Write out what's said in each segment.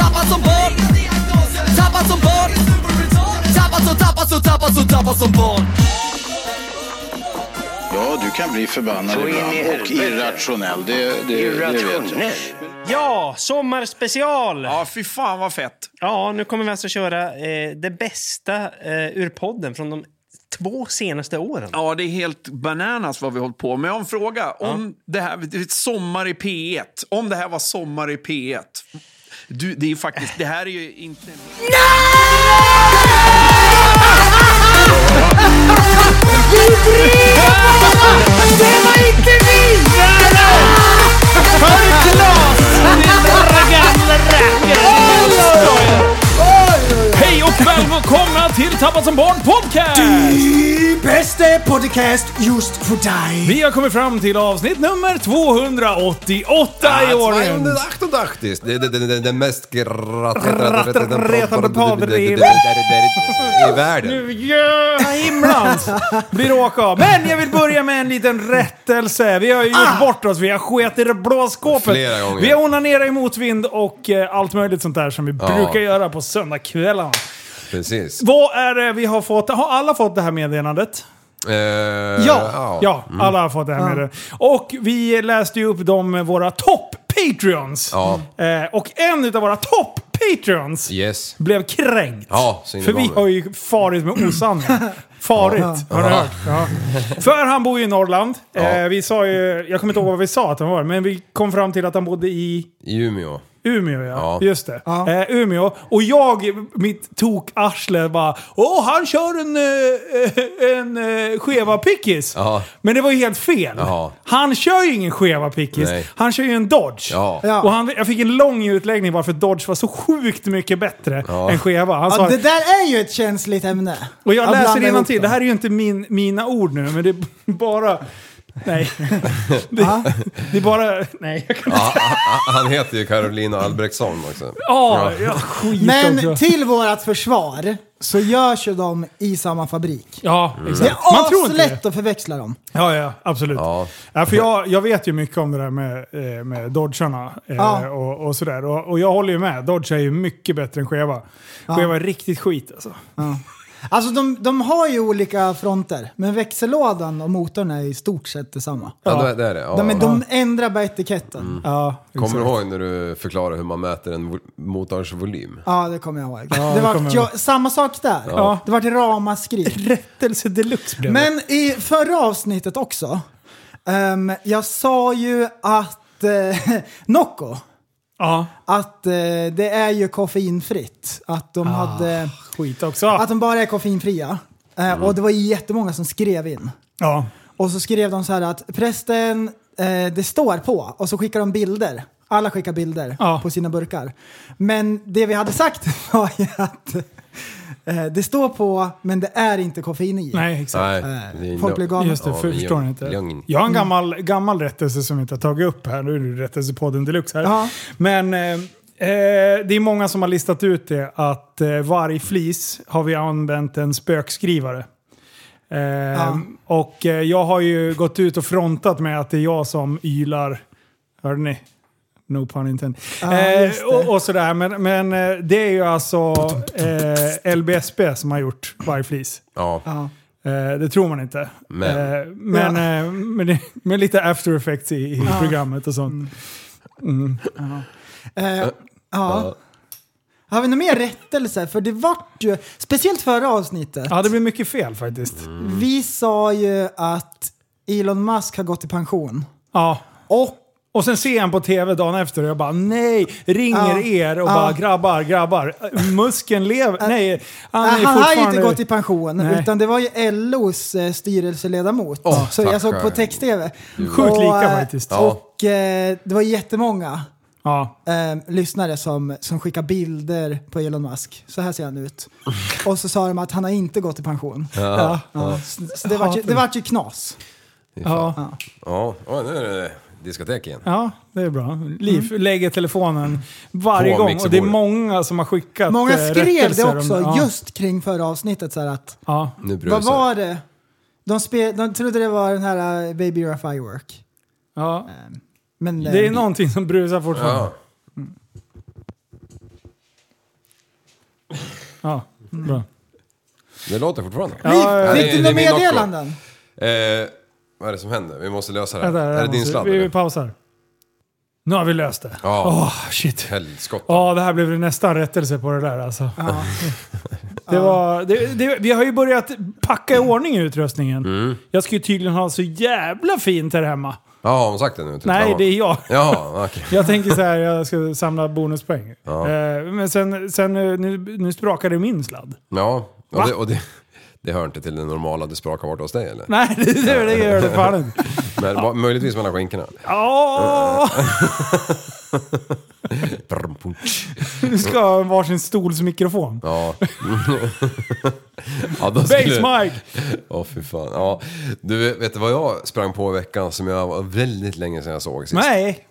Tappad som barn Tappad som barn Tappad som, tappad som, tappad som, tappad som barn Ja, du kan bli förbannad Så in i ibland och helvete. irrationell. Det, det, det vet jag. Irrationell. Ja, sommarspecial! Ja. Ja, fy fan vad fett. nu kommer vi alltså köra eh, det bästa eh, ur podden från de två senaste åren. Ja, det är helt bananas vad vi har hållit på med. Jag har en fråga. Om det här, det är ett Sommar i P1. Om det här var Sommar i P1. Du, det är faktiskt, det här är ju inte... Hej och välkomna till Tappad som barn podcast! Bästa podcast just för dig! Vi har kommit fram till avsnitt nummer 288 i år. 288! Det är den, den, den, den mest Rattetretande podden i- i världen. Nu gör himlans vi råkar av. Men jag vill börja med en liten rättelse. Vi har ju gjort Ah! bort oss. Vi har sket i det blå skåpet. Flera gånger. Vi har onanerat i motvind och eh, allt möjligt sånt där som vi brukar göra på söndagskvällarna. Precis. Vad är det vi har fått? Har alla fått det här meddelandet? Eh, Ja, ja alla har fått det här med det. Och vi läste ju upp de eh, våra topp-patreons. Ja. Eh, och en utav våra topp-patreons Yes. blev kränkt. Ja, så in i För vi bomben. har ju farit med osanning. Farit, har ni hört? Ja. För han bor ju i Norrland. Eh, Ja. vi sa ju, jag kommer inte ihåg vad vi sa att han var, men vi kom fram till att han bodde i I Umeå. Umeå ja, Ja. just det. Eh, Umeå. Och jag, mitt tokarsle bara Åh, han kör en, eh, en eh, skeva pickis. Ja. Men det var ju helt fel. Ja. Han kör ju ingen skeva pickis. Nej. Han kör ju en Dodge. Ja. Ja. Och han, jag fick en lång utläggning varför Dodge var så sjukt mycket bättre än skeva. Han Ja, sa, det där är ju ett känsligt ämne. och jag Att blanda läser ihop till. dem. det här är ju inte min, mina ord nu, men det är bara... Nej. det, det är bara... Nej, jag kan inte... Ja, han- han- han heter ju Carolina Albrektsson också. Ja, ja. skit Ah, också. Men till vårt försvar så görs ju de i samma fabrik. Ja, Mm. Det exakt. Man tror är inte det. aslätt att förväxla dem. Ja, ja, absolut. Ja. Ja. för jag, jag vet ju mycket om det där med, eh, med dodgarna eh, Ja. och, och sådär. Och, och jag håller ju med. Dodge är ju mycket bättre än skeva. Skeva är riktigt skit alltså. Alltså de, de har ju olika fronter, men växellådan och motorn är i stort sett detsamma. Ja, det- det är det. Ja, De, men ja. de ändrar bara etiketten. Ja, Kommer du ihåg när du förklarade hur man mäter en vo- motorns volym? Ja, det kommer jag ihåg. det det kommer var, jag jag, samma sak där. Ja. Det var ramaskri. Rättelse deluxe blev det. Men i förra avsnittet också. ehm, jag sa ju att eh, Nocco, Ja, att eh, det är ju koffeinfritt. Att Ah. de, hade, skit också. att de bara är koffeinfria. Eh, Mm. Och det var ju jättemånga som skrev in. ja. Och så skrev de så här att prästen, eh, det står på. Och så skickar de bilder. Alla skickar bilder Ja. på sina burkar. Men det vi hade sagt var ju att eh, det står på, men det är inte koffein i. Nej, exakt. Nej. Eh, det är folk no- blir galna. Just det, Ja, för, men förstår lugn- ni inte? lugn. Jag har en gammal, gammal rättelse som vi inte har tagit upp här. Nu är det rättelsepodden deluxe här. Ja. Men eh, eh, det är många som har listat ut det att eh, varje flis har vi använt en spökskrivare. Eh, Och eh, jag har ju gått ut och frontat med att det är jag som ylar. Hörde ni? No pun intended. eh, just det. och, och sådär. Men, men eh, det är ju alltså eh, LBSB som har gjort varje flis. Ja. Eh, det tror man inte. Men. Eh, men, eh, men, det- men lite after effects i, i programmet och Mm. sånt. Eh, ja. Har vi någon mer rättelse? För det vart ju, speciellt förra avsnittet, Ja, det blir mycket fel faktiskt. Mm. vi sa ju att Elon Musk har gått i pension. Ja. Och Och sen ser jag han på tv dagen efter och jag bara nej, ringer Ja. er och Ja. bara grabbar, grabbar. Musken lever. Nej, han, är han, har ju fortfarande... inte gått i pension, Nej. utan det var ju LOs eh, styrelseledamot. Åh, så jag såg på tackar. text-tv. Mm. Sjukt Och, lika eh, faktiskt. Ja. Och eh, det var jättemånga Ja. eh, lyssnare som, som skickar bilder på Elon Musk. Så här ser han ut. Och så sa de att han har inte gått i pension. Ja. Ja. Så, så det vart ju, det vart ju knas. Ja. Ja, Åh, nu är det diskotek igen. Ja, det är bra. Liv Mm. lägger telefonen varje På gång. Och det är mixerbordet. många som har skickat Många eh, skrev det rättelser om- också ja, just kring förra avsnittet. Så här att, Ja. Nu brusar vad det. var det? De, spe, de trodde det var den här eh, Baby You're a Firework. ja. Men, eh, Det är någonting som brusar fortfarande. Ja. Ja. Bra. Det låter fortfarande. Ja, ja, ja. Mm. Liv, det är fick du några min Nocco. meddelanden? Eh, vad är det som händer? Vi måste lösa det här. Vänta, är det jag din måste- sladd? Vi, eller? vi pausar. Nu har vi löst det. Ja. Åh, shit. Helskotta. Ja, det här blev nästan rättelse på det där alltså. Det var, det, det, vi har ju börjat packa i ordning utrustningen. Mm. Jag ska ju tydligen ha så jävla fint här hemma. Ja, har hon sagt det nu? till Nej, mamma? det är jag. Ja, okej. Jag tänker så här, jag ska samla bonuspoäng. Ja. Eh, Men sen, sen eh, nu, nu sprakade min sladd. Ja, Va? och, det, och det, det hör inte till det normala du sprakar bort hos dig eller? Nej, det, det, det gör det fan inte. Men ja. möjligtvis mellan skinkorna. Åh! Brum, punch. Du ska ha varsin stolsmikrofon. Ja. ja då Base skulle... Mike! Åh fy fan. Ja. Du, vet du vad jag sprang på i veckan som jag var väldigt länge sedan jag såg sist? Nej!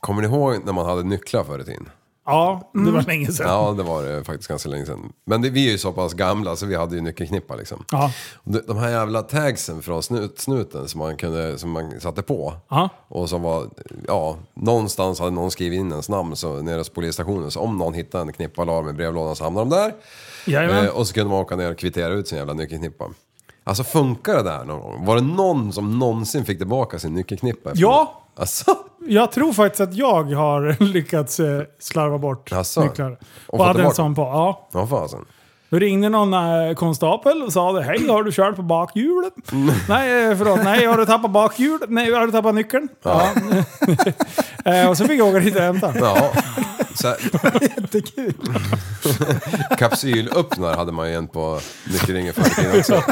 Kommer ni ihåg när man hade nycklar förr i tiden? Ja, det var länge sedan. Ja, det var det faktiskt ganska länge sedan. Men det, vi är ju så pass gamla så vi hade ju nyckelknippa liksom. Ja. Och de- De här jävla tagsen från snut, snuten som man, kunde, som man satte på. Ja. Och som var, ja, någonstans hade någon skrivit in ens namn så, nere på polisstationen. Så om någon hittade en knippa och la dem i brevlådan så hamnade de där. Jajamän. Eh, och så kunde man åka ner och kvittera ut sin jävla nyckelknippa. Alltså funkar det där någon gång? Var det någon som någonsin fick tillbaka sin nyckelknippa? efter Ja. det? Alltså? Jag tror faktiskt att jag har lyckats eh, slarva bort Jaså? nycklar. Och Och, fått hade en tillbaka? sån på. Ja. Ja, fasen. Då ringde någon eh, konstapel och sa det. Hej, har du kört på bakhjulet? Mm. Nej, eh, förlåt. Nej, har du tappat bakhjulet? Nej, har du tappat nyckeln? Ja. Eh, och så fick jag åka dit och hämta. Ja. Så här, kapsylöppnare hade man ju en på nyckelringen förr i tiden också.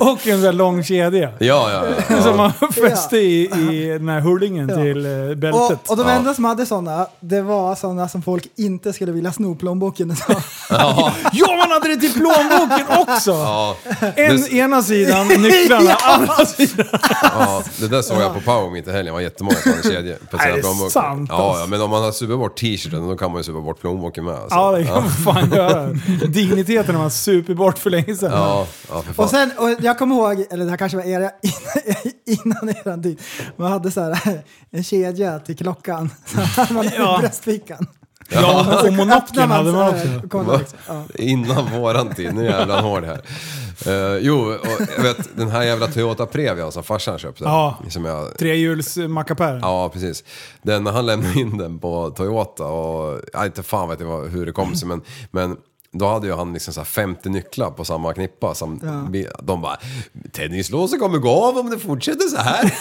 Och en sån här lång kedja. Ja, ja, ja. ja. Som man fäste i, i den här hullingen till eh, bältet. Och, och de enda som hade sådana, det var sådana som folk inte skulle vilja sno plånboken utav. Ja, man hade det till plånboken också! Ja, En, Det- ena sidan nycklarna, andra sidan... ja, det där såg jag på Power mitt i helgen. Det var jättemånga som hade kedjor på Nej, det sina är plånböcker. sant, ja, alltså. ja, men om man har super bort t-shirten då kan man ju super bort plånboken med. Alltså. Ja, det kan man fan göra. Digniteten har man super bort för länge sedan. ja, ja, för fan. Och sen, och jag kommer ihåg, eller det här kanske var era, innan, innan eran tid, man hade så här, eh, en kedja till klockan som man hade Ja. i bröstfickan. Ja, Alltså, och alltså. monokeln hade man så här, också. och kollade Va? liksom. Ja. Innan våran tid, nu är jävlar hård här. Eh, jo, och jag vet den här jävla Toyota Previa som farsan köpte. Ja. Som jag eh, Trehjulsmackapär. Ja, precis. Den, när han lämnade in den på Toyota och... Ja, inte fan vet jag vad- hur det kom sig, men... men då hade ju han liksom så här 50 nycklar på samma knippa. Som vi- De bara “Tennislåset kommer gå av om det fortsätter så här”.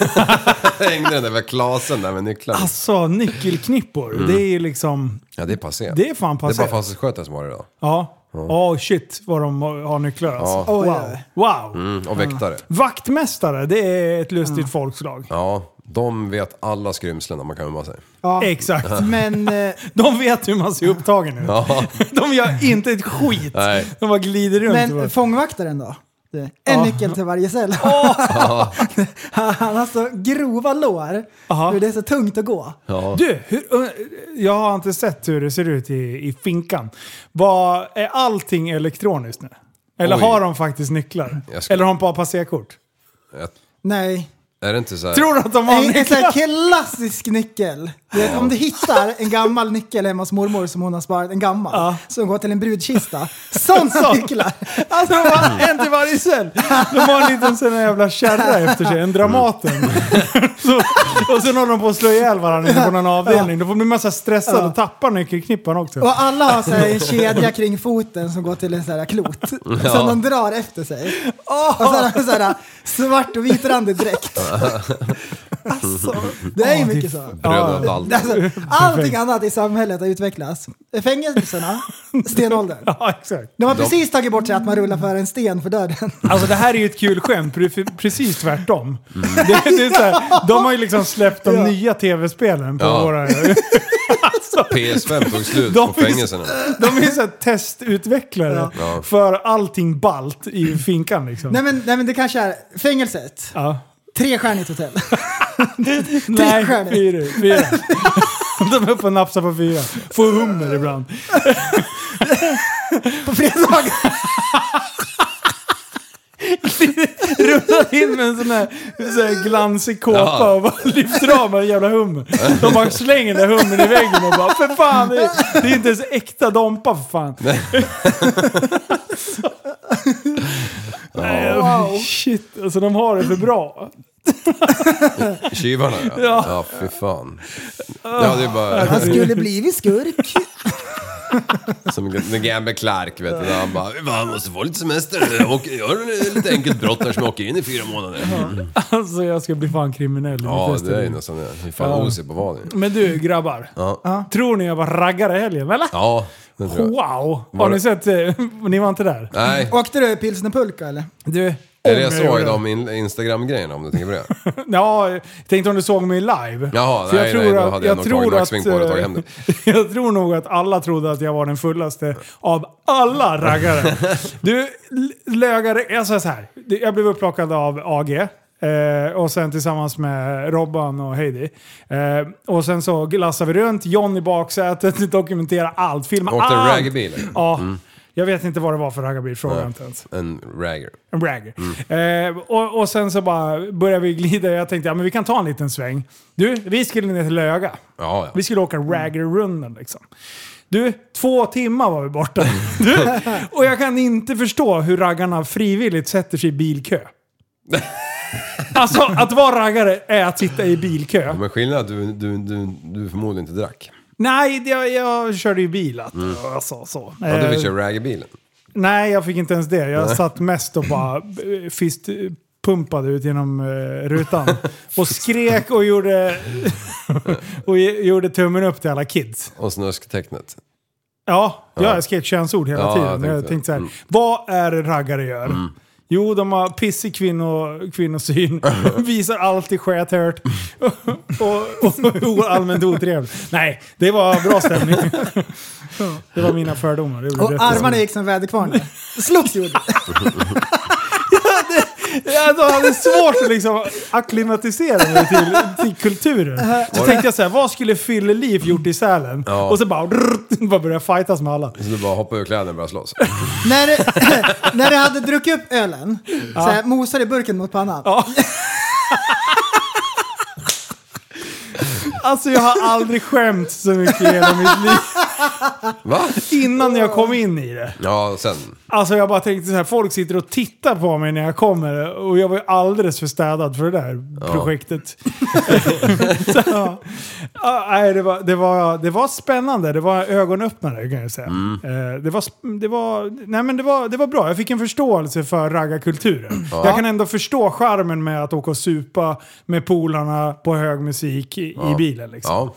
Hängde den där med klasen där med nycklarna. Alltså, nyckelknippor. Det är liksom... ja, det är passé. Det är fan Det är passé. bara fastighetsskötaren som har det idag. Ja. Åh shit vad de har nycklar alltså. Oj, Wow. wow. Mm, och väktare. Vaktmästare, det är ett lustigt folkslag. Ja, de vet alla skrymslen om man kan gömma sig. Ja. Exakt. Men eh, De vet hur man ser upptagen ut. Ja, De gör inte ett skit. nej. De bara glider runt. och bara, Men fångvaktaren då? Det. En nyckel till varje cell. Han har så grova lår. Aha. Hur det är så tungt att gå. Ja. Du, hur, ö, jag har inte sett hur det ser ut i, i finkan. Vad, är allting elektroniskt nu? Eller Oj. har de faktiskt nycklar? Jag ska- Eller har de bara passerkort? Ett- Nej. Är det inte så här... Tror du att de har En, en sån här nycklar? klassisk nyckel. Du vet, om du hittar en gammal nyckel hemma hos mormor som hon har sparat, en gammal, som går till en brudkista. Sådana Sån. nycklar! Alltså, de har en till varje cell. De har en liten sån här jävla kärra efter sig, en Dramaten. så, och sen håller de på att slå ihjäl varandra inne på någon avdelning. Då blir man så här stressad och tappar nyckelknippan också. Och alla har så här en kedja kring foten som går till en sån här klot. Som de drar efter sig. Och så har de så här svart och vitrandig dräkt. Alltså, det är ju mycket så. Bröderna allt. Alltså, allting annat i samhället har utvecklats. Fängelserna, stenåldern. Ja, exakt. De har precis tagit bort sig att man rullar för en sten för döden. Alltså det här är ju ett kul skämt, för det är precis tvärtom. Det, det är så här, de har ju liksom släppt de Ja. nya tv-spelen på Ja. våra... PS5 tog slut De på finns- fängelserna. De är ju så här testutvecklare Ja. för allting balt i finkan liksom. Nej men, nej men det kanske är fängelset, ja. trestjärnigt hotell. Nej, stjärnor. fyra. fyra. De är uppe och nafsar på fyra. Får hummer ibland. På fredagar. Rullar in med en sån här, sån här glansig kåpa Ja. och bara lyfter av med en jävla hummer. De bara slänger den där hummern i väggen och bara för fan, det är, det är inte ens äkta Dompa för fan. Nej, Wow. Shit, alltså de har det för bra. Tjuvarna ja. Ja. ja. fy fan. Ja, det är bara Han skulle blivit skurk. som den gamle Clark vet du. när Han bara, man måste få lite semester. Och gör en lite enkelt brott där som jag åker in i fyra månader. Alltså jag ska bli fan kriminell i Ja, mitt det är ju liv. nästan det. Fy fan, osig på vad nu. Men du grabbar, Ja, tror ni jag var raggare i helgen eller? ja det tror jag. Wow! Har Var ni det- sett? eh, Ni var inte där? Nej, Åkte du pilsnerpulka eller? Du, eller jag om gjorde såg det. de in- Instagram-grejerna om du tänker på det. Ja, jag tänkte om du såg mig live. Jaha, För nej, nej, då hade jag nog tagit backswing på det och tagit hem eh, Jag tror nog att alla trodde att jag var den fullaste av alla raggare. du, l- lögare, jag sa så här. Det- Jag blev upplockad av AG. Eh, och sen tillsammans med Robban och Heidi. Eh, och sen så glassade vi runt, John i baksätet, dokumentera allt, filma Åkte Mm. en allt. raggarbil. eller? Ja. Jag vet inte vad det var för raggarbil, fråga inte ens. En ragger. En rag. Eh, och, och sen så bara började vi glida. Jag tänkte ja, men vi kan ta en liten sväng. Du, vi skulle ner till Löga. Ja, ja. Vi skulle åka raggerrundan liksom. Du, två timmar var vi borta. Du, och jag kan inte förstå hur raggarna frivilligt sätter sig i bilkö. Alltså att vara raggare är att sitta i bilkö. Men skillnaden är att du, du, du, du förmodligen inte drack. Nej, det- jag, jag körde ju bil. Att, alltså, så. Mm. Ja, du Eh, fick köra raggarbilen. Nej, jag fick inte ens det. Jag satt mest och bara eh, fistpumpade ut genom eh, rutan. Och skrek och gjorde, och ge- gjorde tummen upp till alla kids. Och snusktecknet. Ja, ja. jag skrek könsord hela Ja, tiden. Jag jag tänkte, tänkte så här, vad är det raggare gör? Jo, de har pissig kvinno, kvinnosyn, visar alltid skethört och, och, och allmänt otrevlig. Nej, det var bra stämning. Det var mina fördomar. Det blev Och jättebra. armarna gick som väderkvarnar. Slogs gjorde det. Jag då hade svårt att liksom acklimatisera mig till, till kulturen. Så tänkte jag så här, vad skulle Fille Liv gjort i Sälen? Ja. Och så bara, bara börja fightas med alla. Så du bara hoppade ur kläderna och började slåss. när, du, när du hade druckit upp ölen, så här, mosade burken mot pannan. Alltså jag har aldrig skämt så mycket i hela mitt liv Va? innan jag kom in i det. Ja, sen. Alltså jag bara tänkte så här, folk sitter och tittar på mig när jag kommer och jag var ju alldeles för städad för det där projektet. så, ja. Ah, nej, det, var, det, var, det var spännande, det var ögonöppnare kan jag säga. Eh, det, var, sp- det, var, nej, men det, var, det var bra, jag fick en förståelse för raggarkulturen. Jag kan ändå förstå charmen med att åka och supa med polarna på hög musik i, i bilen. Liksom. Ja.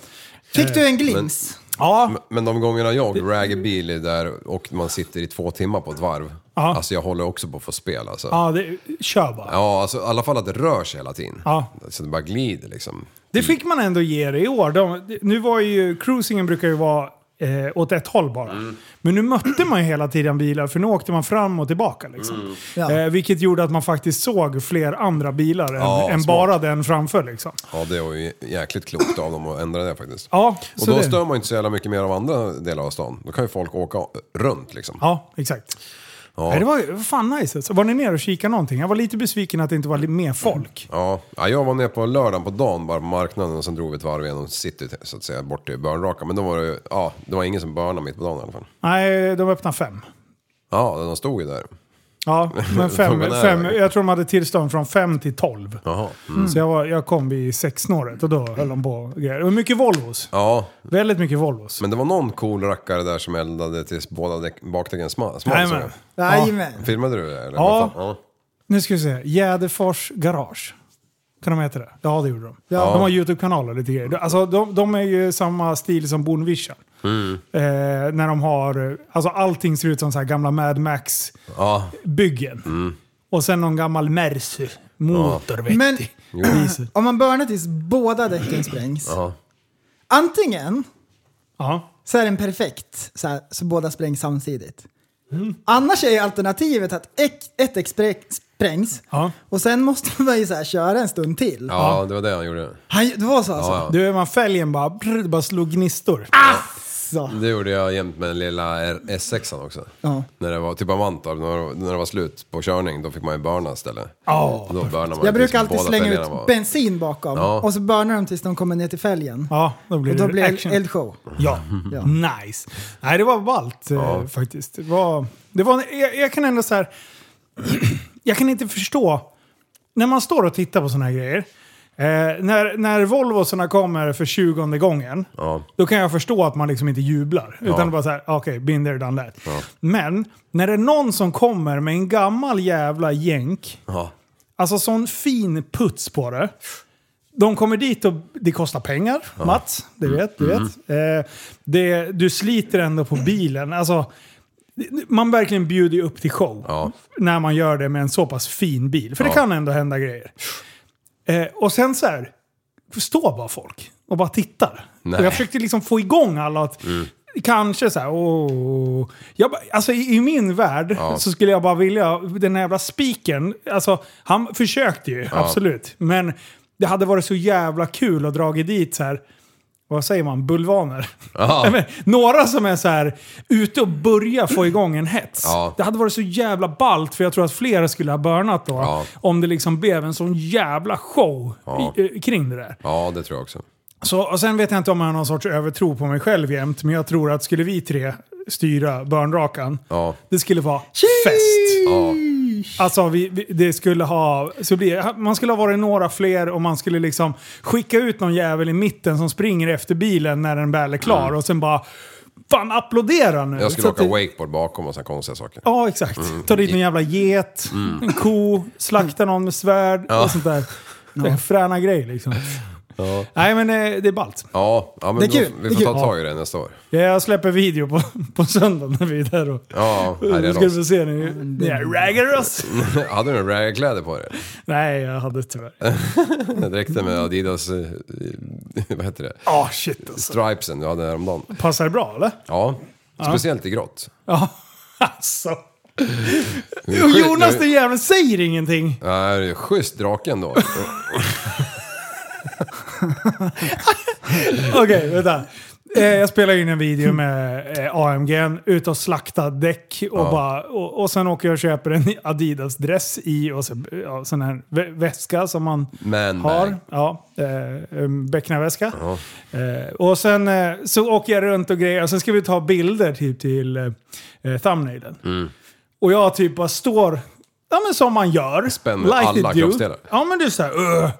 Fick du en glimt? Ja. Men de gångerna jag raggar bil är där och man sitter i två timmar på ett varv. Ja. Alltså jag håller också på att få spel alltså. Ja. Ja, det, kör bara. alltså i alla fall att det rör sig hela tiden. Ja. Så det bara glider liksom. Det fick man ändå ge det i år. De, nu var ju, cruisingen brukar ju vara eh, åt ett håll bara. Mm. Men nu mötte man ju hela tiden bilar för nu åkte man fram och tillbaka. Liksom. Mm. Ja. Eh, vilket gjorde att man faktiskt såg fler andra bilar än, Ja, än smart. bara den framför. Liksom. Ja, det var ju jäkligt klokt av dem att ändra det faktiskt. Ja, Och så då det- stör man ju inte så jävla mycket mer av andra delar av stan. Då kan ju folk åka runt liksom. Ja, exakt. Ja. Nej, det var ju fan nice. alltså. Var ni nere och kikade någonting? Jag var lite besviken att det inte var li- mer folk. Ja, ja, jag var nere på lördagen på dagen bara på marknaden och sen drog vi ett varv genom city så att säga bort till Börnraka. Men då var det ju, ja, det var ingen som börnade mitt på dagen i alla fall. Nej, de öppnade fem. Ja, de stod ju där. Ja, men fem, Tog man nära fem, vägen? jag tror de hade tillstånd från fem till tolv. Jaha. Mm. Så jag, var, jag kom vid sexsnåret och då höll de på och grejer. Det var mycket Volvos. Ja, Väldigt mycket Volvos. men det var någon cool rackare där som eldade tills båda däck- bakdäcken smal. smal såg Jajamän. jag. Jajamän. Filmade du det? Eller? Ja. Vad fan? Nu ska vi se. Jäderfors Garage. Kan de heta det? Ja, det gjorde de. Ja. De har YouTube-kanaler och lite grejer. Alltså, de, de är ju samma stil som Bonvision. Mm. Eh, när de har... Alltså allting ser ut som så här gamla Mad Max-byggen. Ja, Mm. Och sen någon gammal Mercy. Motor, vet Men jo. om man burnar tills båda däcken sprängs. Ja. Antingen Ja. så är den perfekt, så, här, så båda sprängs samtidigt. Mm. Annars är ju alternativet att ek- ett däck sprä- sprängs Ja. och sen måste man ju så här köra en stund till. ja, det var det han gjorde. Han, det var så alltså? Ja, Du, man fälgen bara, brr, det bara slog gnistor. Ah! Så. ja. Det gjorde jag jämt med den lilla R- S6an också. Ja. När det var typ av Mantorp, när, när det var slut på körning, då fick man ju burna istället. Ja. Och då burnar man Jag tills brukar alltid båda slänga fälgarna ut var- bensin bakom Ja. och så burnar de tills de kommer ner till fälgen. Ja, då blir Och det då blir det action. eldshow. Ja. Ja. nice. Nej, det var ballt eh, faktiskt. Det var, det var, jag, jag kan ändå så här... jag kan inte förstå. När man står och tittar på såna här grejer. Eh, när, när Volvosarna kommer för tjugonde gången. Ja. Då kan jag förstå att man liksom inte jublar. Utan bara så här, "Ah, okej, been there, done that. Men när det är någon som kommer med en gammal jävla jänk. Ja. Alltså sån fin puts på det. De kommer dit och det kostar pengar, Mats. Det Mm. vet du. Vet. Eh, det, du sliter ändå på bilen. Alltså, man verkligen bjuder ju upp till show. Ja. När man gör det med en så pass fin bil. För det kan ändå hända grejer. Eh, och sen så här, står bara folk och bara tittar. Nej. Mm. Och jag försökte liksom få igång alla att Kanske så här, åh. Jag, bara- alltså i, i min värld så skulle jag bara vilja, den här jävla spiken, alltså han försökte ju, absolut. Men det hade varit så jävla kul att dra dit så här, vad säger man, bulvaner? Nej, men, några som är så här ute och börjar få igång en hets. Ja. Det hade varit så jävla ballt för jag tror att flera skulle ha burnat då. Ja. Om det liksom blev en sån jävla show Ja. i, eh, kring det där. ja, det tror jag också. Så, och sen vet jag inte om jag har någon sorts övertro på mig själv jämt, men jag tror att skulle vi tre styra burnrakan, Ja. det skulle vara fest. Alltså, vi, vi, det skulle ha, så blir, man skulle ha varit några fler och man skulle liksom skicka ut någon jävel i mitten som springer efter bilen när den väl är klar och sen bara Fan, applådera nu! Mm. Jag skulle Så att åka typ- Mm. det- wakeboard bakom och sådana konstiga saker. Ja, exakt. Ta dit någon jävla get, Mm. en ko, slakta någon med svärd och sånt där. Det är en fräna grej liksom. Nej, men eh, det är ballt. Ja, ja men Det är kul, Då, det vi är får ta kul. tag i det nästa år. Jag släpper video på, på söndag när vi är där och... Ja, här Då är ska du det få se när vi- när jag raggar oss. också. Hade du några raggarkläder på dig? Nej, jag hade tyvärr. Dräkten med Adidas, eh, vad heter det, Ah shit alltså. stripesen du hade häromdagen. Passar det bra eller? Ja, speciellt i grått. Ja, alltså. Och Jonas den jäveln säger ingenting. Nej, det är schysst drake ändå. Okej, vänta. Eh, jag spelade in en video med eh, AMG, ut och slakta däck och, bara, och, och sen åker jag och köper en Adidas-dress i och så, ja, sån här vä- väska som man Man har. bag. Ja, eh, en becknarväska. Eh, och sen eh, så åker jag runt och grejer och sen ska vi ta bilder typ till eh, eh, thumbnailen. Mm. Och jag typ bara står, ja men som man gör. Spänner it alla do. kroppsdelar. Ja men du såhär, uh.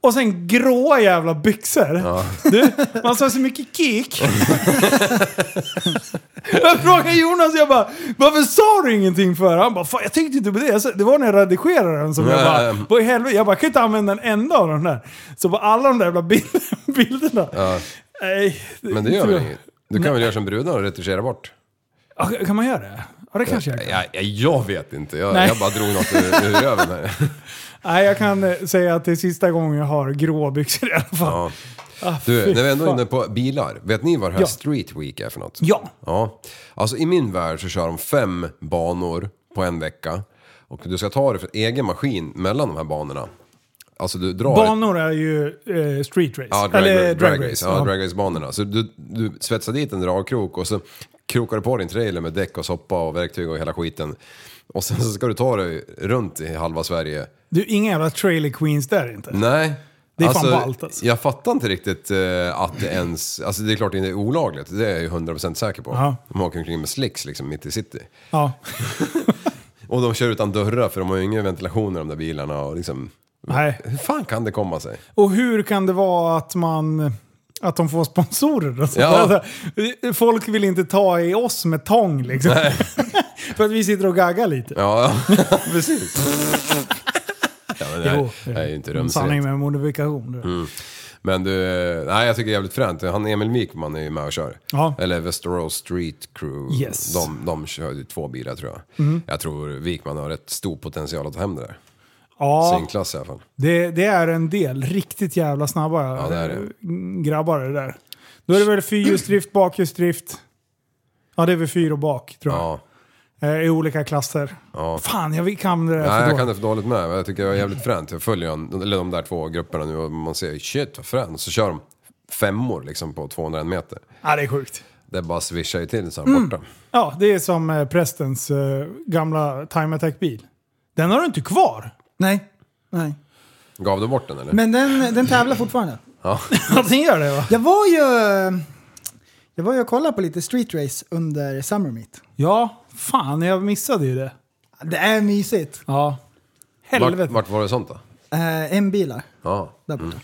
Och sen gråa jävla byxor. Du, man sa så mycket kick. jag frågade Jonas, jag bara, varför sa du ingenting för? Han bara, fan jag tänkte inte på det. Jag sa, det var när jag redigerade den som jag bara, Nej. vad i helvete? Jag bara, jag kan inte använda en enda av de där. Så på alla de där jävla bild- bilderna. Nej, Men det gör tror väl jag- inget? Du kan väl göra som brudarna och retuschera bort? Ja, Kan man göra det? Ja det kanske jag kan. Jag, jag, jag vet inte, jag, Nej. jag bara drog något ur, ur röven här. Nej jag kan eh, säga att det är sista gången jag har grå byxor i alla fall. Ja. Ah, Du, fy när vi ändå är fan. inne på bilar, vet ni vad det här Ja. Street Week är för något? Ja. Ja, alltså i min värld så kör de fem banor på en vecka. Och du ska ta dig för egen maskin mellan de här banorna. Alltså du drar... Banor är ju eh, street race. Ja, drag, Eller drag, drag, race. race. Ja, Ja. drag race-banorna. Så du, du svetsar dit en dragkrok och så krokar du på din trailer med däck och soppa och verktyg och hela skiten. Och sen så ska du ta dig runt i halva Sverige. Du, inga jävla trailer queens där inte. Nej. Det är fan ballt, alltså. Jag fattar inte riktigt eh, att det ens... Alltså det är klart det är olagligt, det är jag ju 100% säker på. Ja. De åker omkring med slicks liksom mitt i city. Ja. Och de kör utan dörrar för de har ju ingen ventilation i de där bilarna och liksom... Nej. Hur fan kan det komma sig? Och hur kan det vara att man... Att de får sponsorer och sånt Ja. där? Alltså, Folk vill inte ta i oss med tång liksom. För att vi sitter och gaggar lite. Ja, ja. precis. ja, men nej, det är ju inte rumsrent. Mm, Mm. Sanning med modifikation. du. Men du, nej jag tycker det är jävligt fränt. Han Emil Mikman är ju med och kör. Ja. Eller Västerås Street Crew. Yes. Mm. De, de kör ju två bilar tror jag. Jag tror Wikman har rätt stor potential att ta hem det där. Ja, Sin klass i alla fall. det, det är en del. Riktigt jävla snabba Ja, det är det. grabbar det där. Då är det väl fyrhjulsdrift, bakhjulsdrift. Ja, det är väl fyra och bak tror jag. Ja. Eh, I olika klasser. Ja. Fan, jag kan det där för Nej, jag dåligt. kan det för dåligt med. men Jag tycker det är jävligt fränt. Jag följer han, eller de där två grupperna nu och man ser shit vad fränt. Så kör de femmor liksom på 201 meter. Ja, det är sjukt. Det bara swishar ju till så Mm. här borta. Ja, det är som eh, prästens eh, gamla Time Attack-bil. Den har du inte kvar. Nej. Nej. Gav du bort den eller? Men den, den tävlar fortfarande. Ja, den gör det va? Jag var ju... Jag var ju och kollade på lite street race under Summer Meet. Ja, fan jag missade ju det. Det är mysigt. Ja. vart, Helvete. vart var det sånt då? Eh, en bilar Ja. där borta.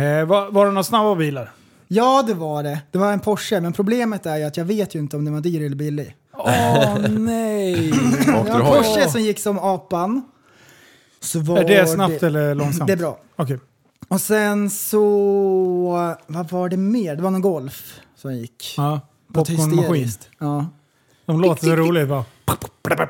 Eh, var, var det några snabba bilar? Ja, det var det. Det var en Porsche, men problemet är ju att jag vet ju inte om den var dyr eller billig. Åh nej! Åkte Jag du har en hoj? Porsche som gick som apan. Så var är det snabbt eller långsamt? Det är bra. Okej. Och sen så... Vad var det mer? Det var någon Golf som gick. Ja. Något Popcornmaskin. hysteriskt. Ja. De låter så roligt va?